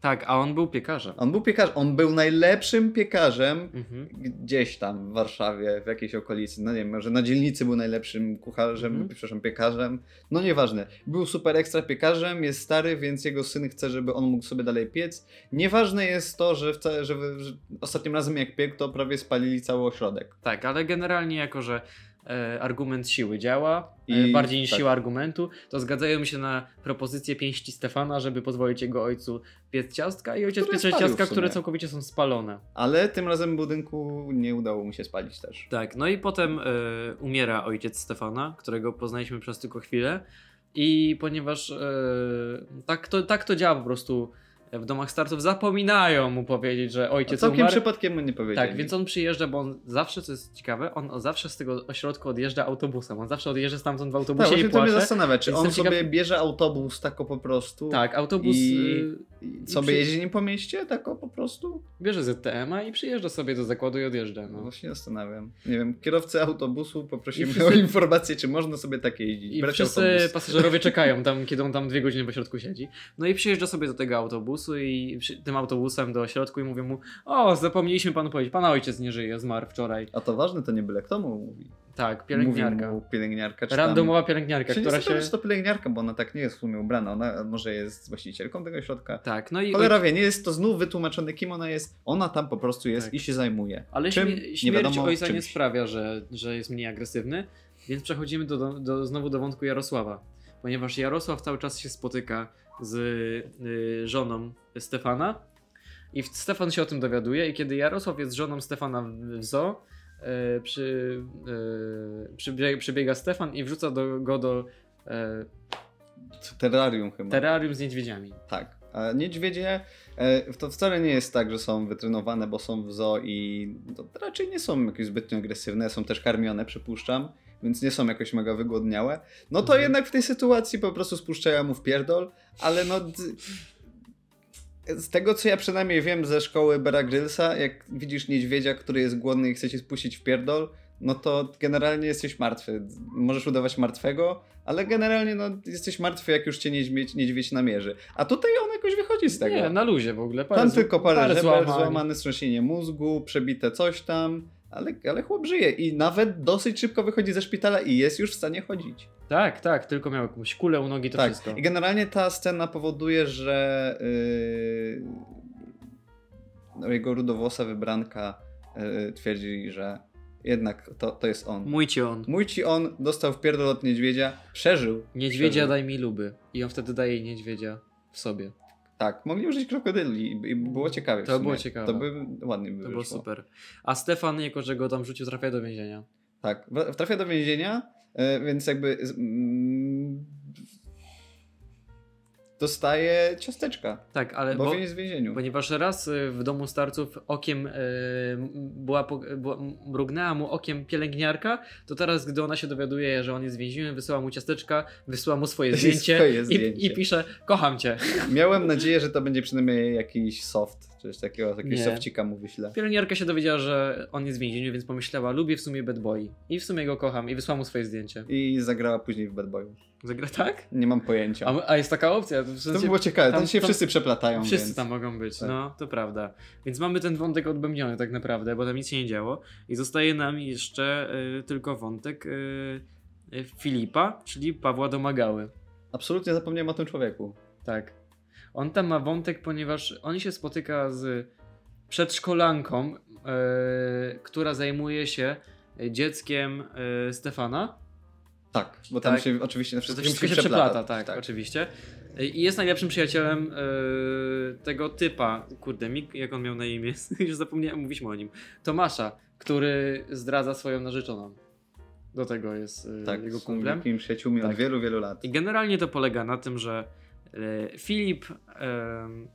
Tak, a on był piekarzem.
On był piekarzem, on był najlepszym piekarzem
Mhm.
gdzieś tam w Warszawie, w jakiejś okolicy, no nie wiem, może na dzielnicy był najlepszym kucharzem,
Mhm.
przepraszam, piekarzem, no nieważne. Był super ekstra piekarzem, jest stary, więc jego syn chce, żeby on mógł sobie dalej piec. Nieważne jest to, że, wca, że, w- że ostatnim razem jak piekł, to prawie spalili cały ośrodek.
Tak, ale generalnie jako, że e, argument siły działa, e,
I-
bardziej niż
tak.
siła argumentu, to zgadzajmy się na propozycję pięści Stefana, żeby pozwolić jego ojcu piec ciastka i ojciec
Które
piecze
spalił
ciastka,
w sumie.
które całkowicie są spalone.
Ale tym razem budynku nie udało mu się spalić też.
Tak, no i potem e, umiera ojciec Stefana, którego poznaliśmy przez tylko chwilę i ponieważ e, tak, to, tak to działa po prostu w domach starców, zapominają mu powiedzieć, że
A
ojciec
całkiem
umarł.
przypadkiem mu nie powiedzieli.
Tak, więc on przyjeżdża, bo on zawsze, co jest ciekawe, on zawsze z tego ośrodku odjeżdża autobusem. On zawsze odjeżdża stamtąd w
tak,
autobusie
właśnie
i
to mnie
płacze.
zastanawia, czy
Jestem
on sobie
ciekaw-
bierze autobus tako po prostu
Tak, autobus
I-
y,
i
i przy-
sobie jeździ nim po mieście tako po prostu?
bierze ZTM-a i przyjeżdża sobie do zakładu i odjeżdża.
No
No.
właśnie zastanawiam. Nie wiem, kierowcę autobusu
I
poprosimy
wszyscy-
o informację, czy można sobie takie jeździć.
I
brać
wszyscy
autobus.
pasażerowie czekają tam, kiedy on tam dwie godziny po środku siedzi. No i przyjeżdża sobie do tego autobusu i przy, tym autobusem do środku i mówię mu o, zapomnieliśmy panu powiedzieć, pana ojciec nie żyje, zmarł wczoraj.
A to ważne, to nie byle kto mu mówi.
Tak,
Mówi
pielęgniarka.
mu pielęgniarka, czy
Randomowa
tam...
pielęgniarka,
Się nie
która się...
zastanawiam, czy to pielęgniarka, bo ona tak nie jest w sumie ubrana. Ona może jest właścicielką tego środka.
Tak, no i...
Cholera wie, nie jest to znów wytłumaczone, kim ona jest. Ona tam po prostu jest
Tak.
i się zajmuje.
Ale
Czym?
śmie-
Nie
śmierć
wiadomo
ojca nie
czymś.
sprawia, że, że jest mniej agresywny, więc przechodzimy do, do, do, znowu do wątku Jarosława. Ponieważ Jarosław cały czas się spotyka z y, żoną Stefana i w- Stefan się o tym dowiaduje i kiedy Jarosław jest żoną Stefana w, w zoo, y, przy, y, przybie- przybiega Stefan i wrzuca do, go do y,
Terrarium chyba.
terrarium z niedźwiedziami.
Tak. A niedźwiedzie e, to wcale nie jest tak, że są wytrenowane, bo są w zoo i to raczej nie są jakieś zbytnio agresywne, są też karmione, przypuszczam, więc nie są jakoś mega wygłodniałe. No to
Mhm.
jednak w tej sytuacji po prostu spuszczają mu w pierdol, ale no... d- Z tego, co ja przynajmniej wiem ze szkoły Bera Grylsa, jak widzisz niedźwiedzia, który jest głodny i chce ci spuścić w pierdol, no to generalnie jesteś martwy. Możesz udawać martwego, ale generalnie no, jesteś martwy, jak już cię niedźwiedź, niedźwiedź namierzy. A tutaj on jakoś wychodzi z tego.
Nie, na luzie w ogóle. Parę,
Tam
z-
tylko parę, parę żeber,
złamań.
złamane strząsienie mózgu, przebite coś tam, ale, ale chłop żyje i nawet dosyć szybko wychodzi ze szpitala i jest już w stanie chodzić.
Tak, tak, tylko miał jakąś kulę u nogi, to
tak.
wszystko.
I generalnie ta scena powoduje, że yy, no, jego rudowłosa wybranka yy, twierdzi, że jednak to, to jest on.
Mój ci on.
Mój ci on dostał w pierdol od niedźwiedzia, przeżył.
Niedźwiedzia
Przeżył.
daj mi luby. I on wtedy daje jej niedźwiedzia w sobie.
Tak, mogli użyć krokodyli i- i było ciekawie. w
To było
sumie.
ciekawe.
To by ładnie by
To
wyszło.
było super. A Stefan, jako że go tam rzucił, trafia do więzienia.
Tak, w- trafia do więzienia, e, więc jakby. z- mm, dostaje ciasteczka,
Tak, ale
bo,
bo,
jest w więzieniu.
ponieważ raz y, w domu starców okiem y, m- była, po- była, m- mrugnęła mu okiem pielęgniarka, to teraz, gdy ona się dowiaduje, że on jest w więzieniu, wysyła mu ciasteczka, wysyła mu swoje zdjęcie,
Swoje
I,
zdjęcie.
i pisze, kocham cię.
Miałem nadzieję, że to będzie przynajmniej jakiś soft, czy coś takiego, jakiegoś
Nie.
sofcika mu wyślę.
Pielęgniarka się dowiedziała, że on jest w więzieniu, więc pomyślała, lubię w sumie bad boy. I w sumie go kocham i wysłała mu swoje zdjęcie.
I zagrała później w Bad Boyu.
Zagra tak?
Nie mam pojęcia.
A, a jest taka opcja. W
to
sensie,
było ciekawe, tam,
tam-
się
tam-
wszyscy przeplatają.
wszyscy
więc.
tam mogą być,
Tak.
no to prawda. Więc mamy ten wątek odbębniony tak naprawdę, bo tam nic się nie działo. I zostaje nam jeszcze y, tylko wątek y, y, Filipa, czyli Pawła Domagały.
Absolutnie zapomniałem o tym człowieku.
Tak. On tam ma wątek, ponieważ on się spotyka z przedszkolanką, e, która zajmuje się dzieckiem e, Stefana.
Tak, bo tam
Tak.
się oczywiście na wszystkim
To wszystko się przeplata, tak, oczywiście. E, I jest najlepszym przyjacielem e, tego typa, kurde, Mik, jak on miał na imię, już zapomniałem, mówiliśmy o nim, Tomasza, który zdradza swoją narzeczoną. Do tego jest e,
Tak,
jego
są
kumplem.
Moim przyjaciółmi od
Tak.
wielu, wielu lat.
I generalnie to polega na tym, że e, Filip, em,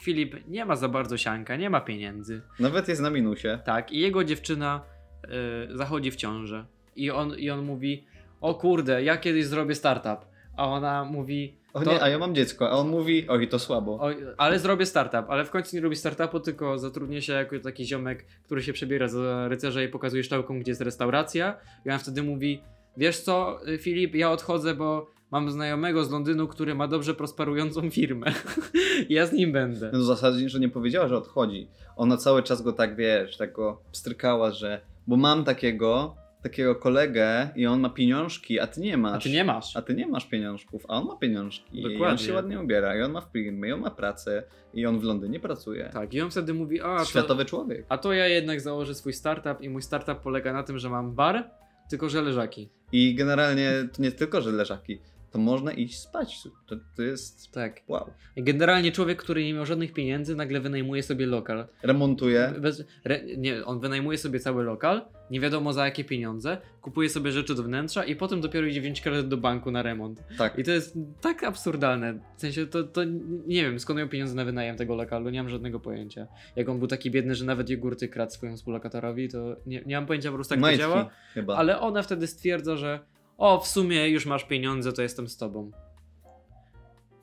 Filip nie ma za bardzo sianka, nie ma pieniędzy.
Nawet jest na minusie.
Tak, i jego dziewczyna e, zachodzi w ciążę. I on, I on mówi: O kurde, ja kiedyś zrobię startup. A ona mówi:
O
To-
nie, a ja mam dziecko, a on mówi, oj, to słabo.
o, Ale zrobię startup. Ale w końcu nie robi startupu, tylko zatrudnia się jako taki ziomek, który się przebiera za rycerza i pokazuje szczałką, gdzie jest restauracja. I on wtedy mówi: Wiesz co, Filip, ja odchodzę, bo mam znajomego z Londynu, który ma dobrze prosperującą firmę. ja z nim będę.
No w zasadzie, że nie powiedziała, że odchodzi. Ona cały czas go tak, wiesz, tak go pstrykała, że bo mam takiego, takiego kolegę i on ma pieniążki, a ty nie masz.
A ty nie masz.
A ty nie masz pieniążków, a on ma pieniążki. I on
Dokładnie.
się ładnie ubiera, i on ma firmy, i on ma pracę, i on w Londynie pracuje.
Tak, i on wtedy mówi: A, to,
Światowy człowiek.
a to ja jednak założę swój startup, i mój startup polega na tym, że mam bar, tylko że leżaki.
I generalnie to nie tylko, że leżaki, to można iść spać. To, to jest
Tak.
wow.
Generalnie człowiek, który nie miał żadnych pieniędzy, nagle wynajmuje sobie lokal.
Remontuje.
Bez, re, nie, on wynajmuje sobie cały lokal, nie wiadomo za jakie pieniądze, kupuje sobie rzeczy do wnętrza i potem dopiero idzie wziąć kredyt do banku na remont.
Tak.
I to jest tak absurdalne. W sensie to, to nie wiem, skąd miał pieniądze na wynajem tego lokalu, nie mam żadnego pojęcia. Jak on był taki biedny, że nawet jogurty kradł swojemu współlokatorowi, to nie, nie mam pojęcia po prostu jak
Majtki
tak to działa.
No Chyba.
Ale ona wtedy stwierdza, że o, w sumie już masz pieniądze, to jestem z tobą.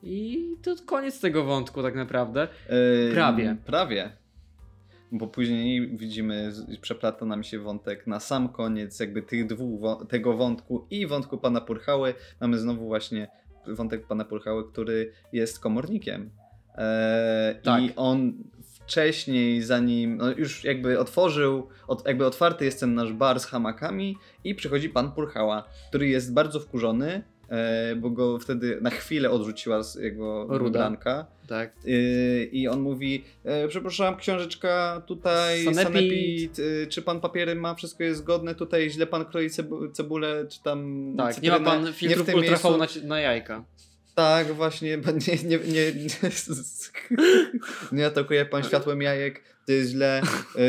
I to koniec tego wątku tak naprawdę.
Yy,
Prawie.
Prawie. Bo później widzimy, z- przeplata nam się wątek na sam koniec jakby tych dwóch, wą- tego wątku i wątku pana Purchały. Mamy znowu właśnie wątek pana Purchały, który jest komornikiem. Eee,
Tak.
I on wcześniej, zanim no już jakby otworzył, od, jakby otwarty jest ten nasz bar z hamakami i przychodzi pan Purchała, który jest bardzo wkurzony, eee, bo go wtedy na chwilę odrzuciła z jego
Ruda.
rubranka.
Tak.
Yy, I on mówi, e, przepraszam, książeczka tutaj,
Sanepid.
sanepid, y, czy pan papiery ma, wszystko jest zgodne, tutaj źle pan kroi cebu- cebulę, czy tam
Tak, nie
cytrynę,
ma pan filtrów
tym
ultrafon
miejscu.
na, na jajka.
Tak, właśnie, pan- nie, nie, nie, nie, nie atakuje pan światłem jajek, to jest źle,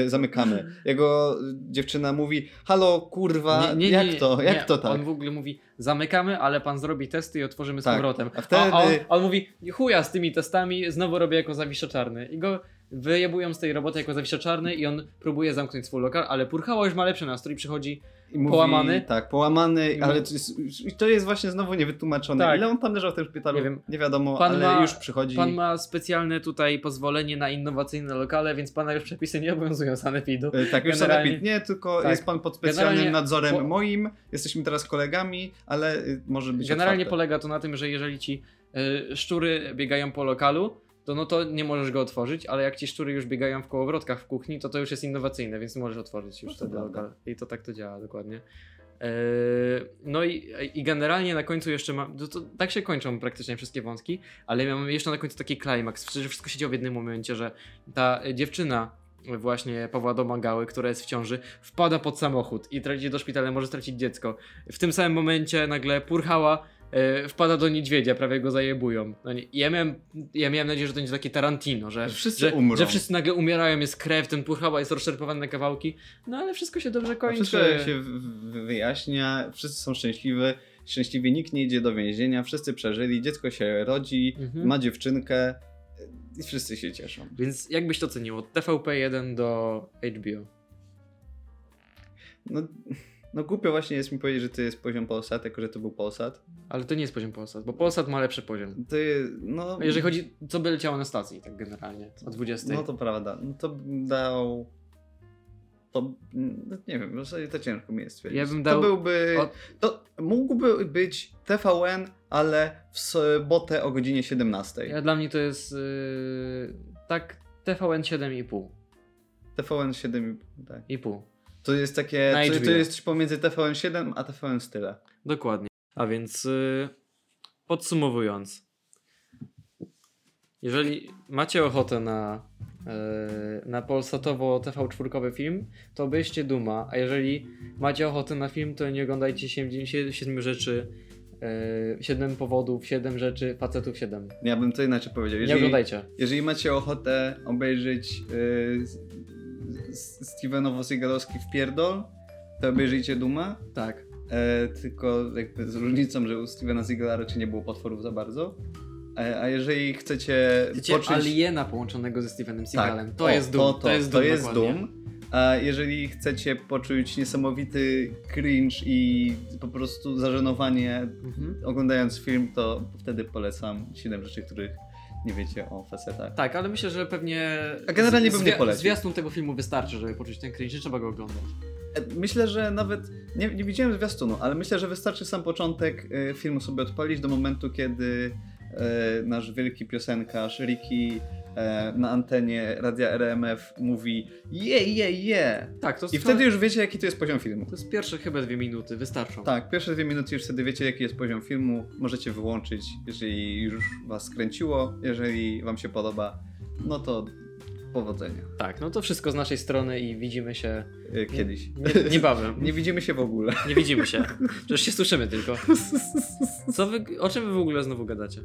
y, zamykamy. Jego dziewczyna mówi, halo kurwa, jak to, jak
nie.
to tak?
On w ogóle mówi, zamykamy, ale pan zrobi testy i otworzymy z
Tak.
powrotem.
A wtedy-
a on, a on mówi, chuja z tymi testami, znowu robię jako zawisza czarny. I go wyjebują z tej roboty jako zawisza czarny i on próbuje zamknąć swój lokal, ale Purchała już ma lepszy nastrój, przychodzi,
I mówi,
Połamany?
Tak, połamany,
I
ale
mówi-
to jest, i to jest właśnie znowu niewytłumaczone.
Tak.
Ile on tam leżał w tym szpitalu,
Nie
nie,
wiem.
wiadomo,
Pan
ale
ma-
już przychodzi.
pan ma specjalne tutaj pozwolenie na innowacyjne lokale, więc pana już przepisy nie obowiązują sanepidu.
E, Tak, już
generalnie-
sanepid nie, tylko
tak.
jest pan pod specjalnym
Generalnie-
nadzorem
po-
moim, jesteśmy teraz kolegami, ale y, może być
Generalnie
otwarte.
polega to na tym, że jeżeli ci y, szczury biegają po lokalu, to no to nie możesz go otworzyć, ale jak ci szczury już biegają w kołowrotkach w kuchni, to to już jest innowacyjne, więc możesz otworzyć już
No to
ten
prawda.
lokal. I to tak to działa dokładnie. Yy, No i, i generalnie na końcu jeszcze mam. To, to, tak się kończą praktycznie wszystkie wątki, ale mamy jeszcze na końcu taki klimaks, że wszystko się dzieje w jednym momencie, że ta dziewczyna właśnie Pawła Domagały, która jest w ciąży, wpada pod samochód i traci do szpitala, może stracić dziecko. W tym samym momencie nagle Purchała e, wpada do niedźwiedzia, prawie go zajebują. No nie, ja, miałem, ja miałem nadzieję, że to będzie takie Tarantino, że
Że wszyscy
że,
umrą.
że wszyscy nagle umierają, jest krew, ten Purchała jest rozszerpowany na kawałki, no ale wszystko się dobrze
A
kończy.
Wszystko się w- w- wyjaśnia, wszyscy są szczęśliwi, Szczęśliwie nikt nie idzie do więzienia, wszyscy przeżyli, dziecko się rodzi,
Mhm.
ma dziewczynkę e, i wszyscy się cieszą.
Więc jak byś to ocenił? Od TVP1 do HBO.
No, no głupio właśnie jest mi powiedzieć, że to jest poziom Polsat, jako że to był Polsat.
Ale to nie jest poziom Polsat, bo Polsat ma lepszy poziom.
To je- no,
Jeżeli chodzi, co by leciało na stacji, tak generalnie, o 20.
No to prawda, no to bym dał... To, no, nie wiem, w zasadzie to ciężko mi jest stwierdzić.
Ja bym dał-
To byłby...
o-
To mógłby być TVN, ale w sobotę o godzinie 17.
Ja, dla mnie to jest yy, tak TVN 7,5.
TVN 7,5, tak.
I pół.
To jest takie,
Na
to,
HBO.
to jest coś pomiędzy TVN 7 a TVN Style.
Dokładnie. A więc y, podsumowując, jeżeli macie ochotę na, y, na polsatowo-tv4 film, to obejście Duma, a jeżeli macie ochotę na film, to nie oglądajcie 7 rzeczy, 7 powodów, 7 rzeczy, facetów 7.
Ja bym to inaczej powiedział.
Nie
Jeżeli,
oglądajcie.
jeżeli macie ochotę obejrzeć yy, Stevenowo Sigalowski w Pierdol, to obejrzyjcie Duma.
Tak.
E, tylko jakby z różnicą, że u Stevena Sigala raczej nie było potworów za bardzo. E, a jeżeli chcecie,
Wiecie, aliena połączonego ze Stevenem Seagalem. To,
Tak. O,
jest Doom. To, jest Doom.
To jest
dokładnie.
Doom. A jeżeli chcecie poczuć niesamowity cringe i po prostu zażenowanie
Mhm.
oglądając film, to wtedy polecam 7 rzeczy, których nie wiecie o facetach.
Tak, ale myślę, że pewnie.
A generalnie
z-
bym nie
zwia-
polecił.
Zwiastun tego filmu wystarczy, żeby poczuć ten cringe, nie trzeba go oglądać.
E, Myślę, że nawet nie, nie widziałem zwiastunu, ale myślę, że wystarczy sam początek e, filmu sobie odpalić do momentu, kiedy e, nasz wielki piosenkarz Ricky e, na antenie radia RMF mówi je, je, je.
Tak, to
I wtedy już wiecie, jaki to jest poziom filmu.
To jest pierwsze chyba dwie minuty, wystarczą.
Tak, pierwsze dwie minuty już wtedy wiecie, jaki jest poziom filmu. Możecie wyłączyć, jeżeli już was skręciło, jeżeli wam się podoba, no to powodzenia.
tak, no to wszystko z naszej strony i widzimy się
Y, Kiedyś.
nie, niebawem.
Nie widzimy się w ogóle.
Nie widzimy się. Przecież się słyszymy tylko. Co wy, o czym wy w ogóle znowu gadacie?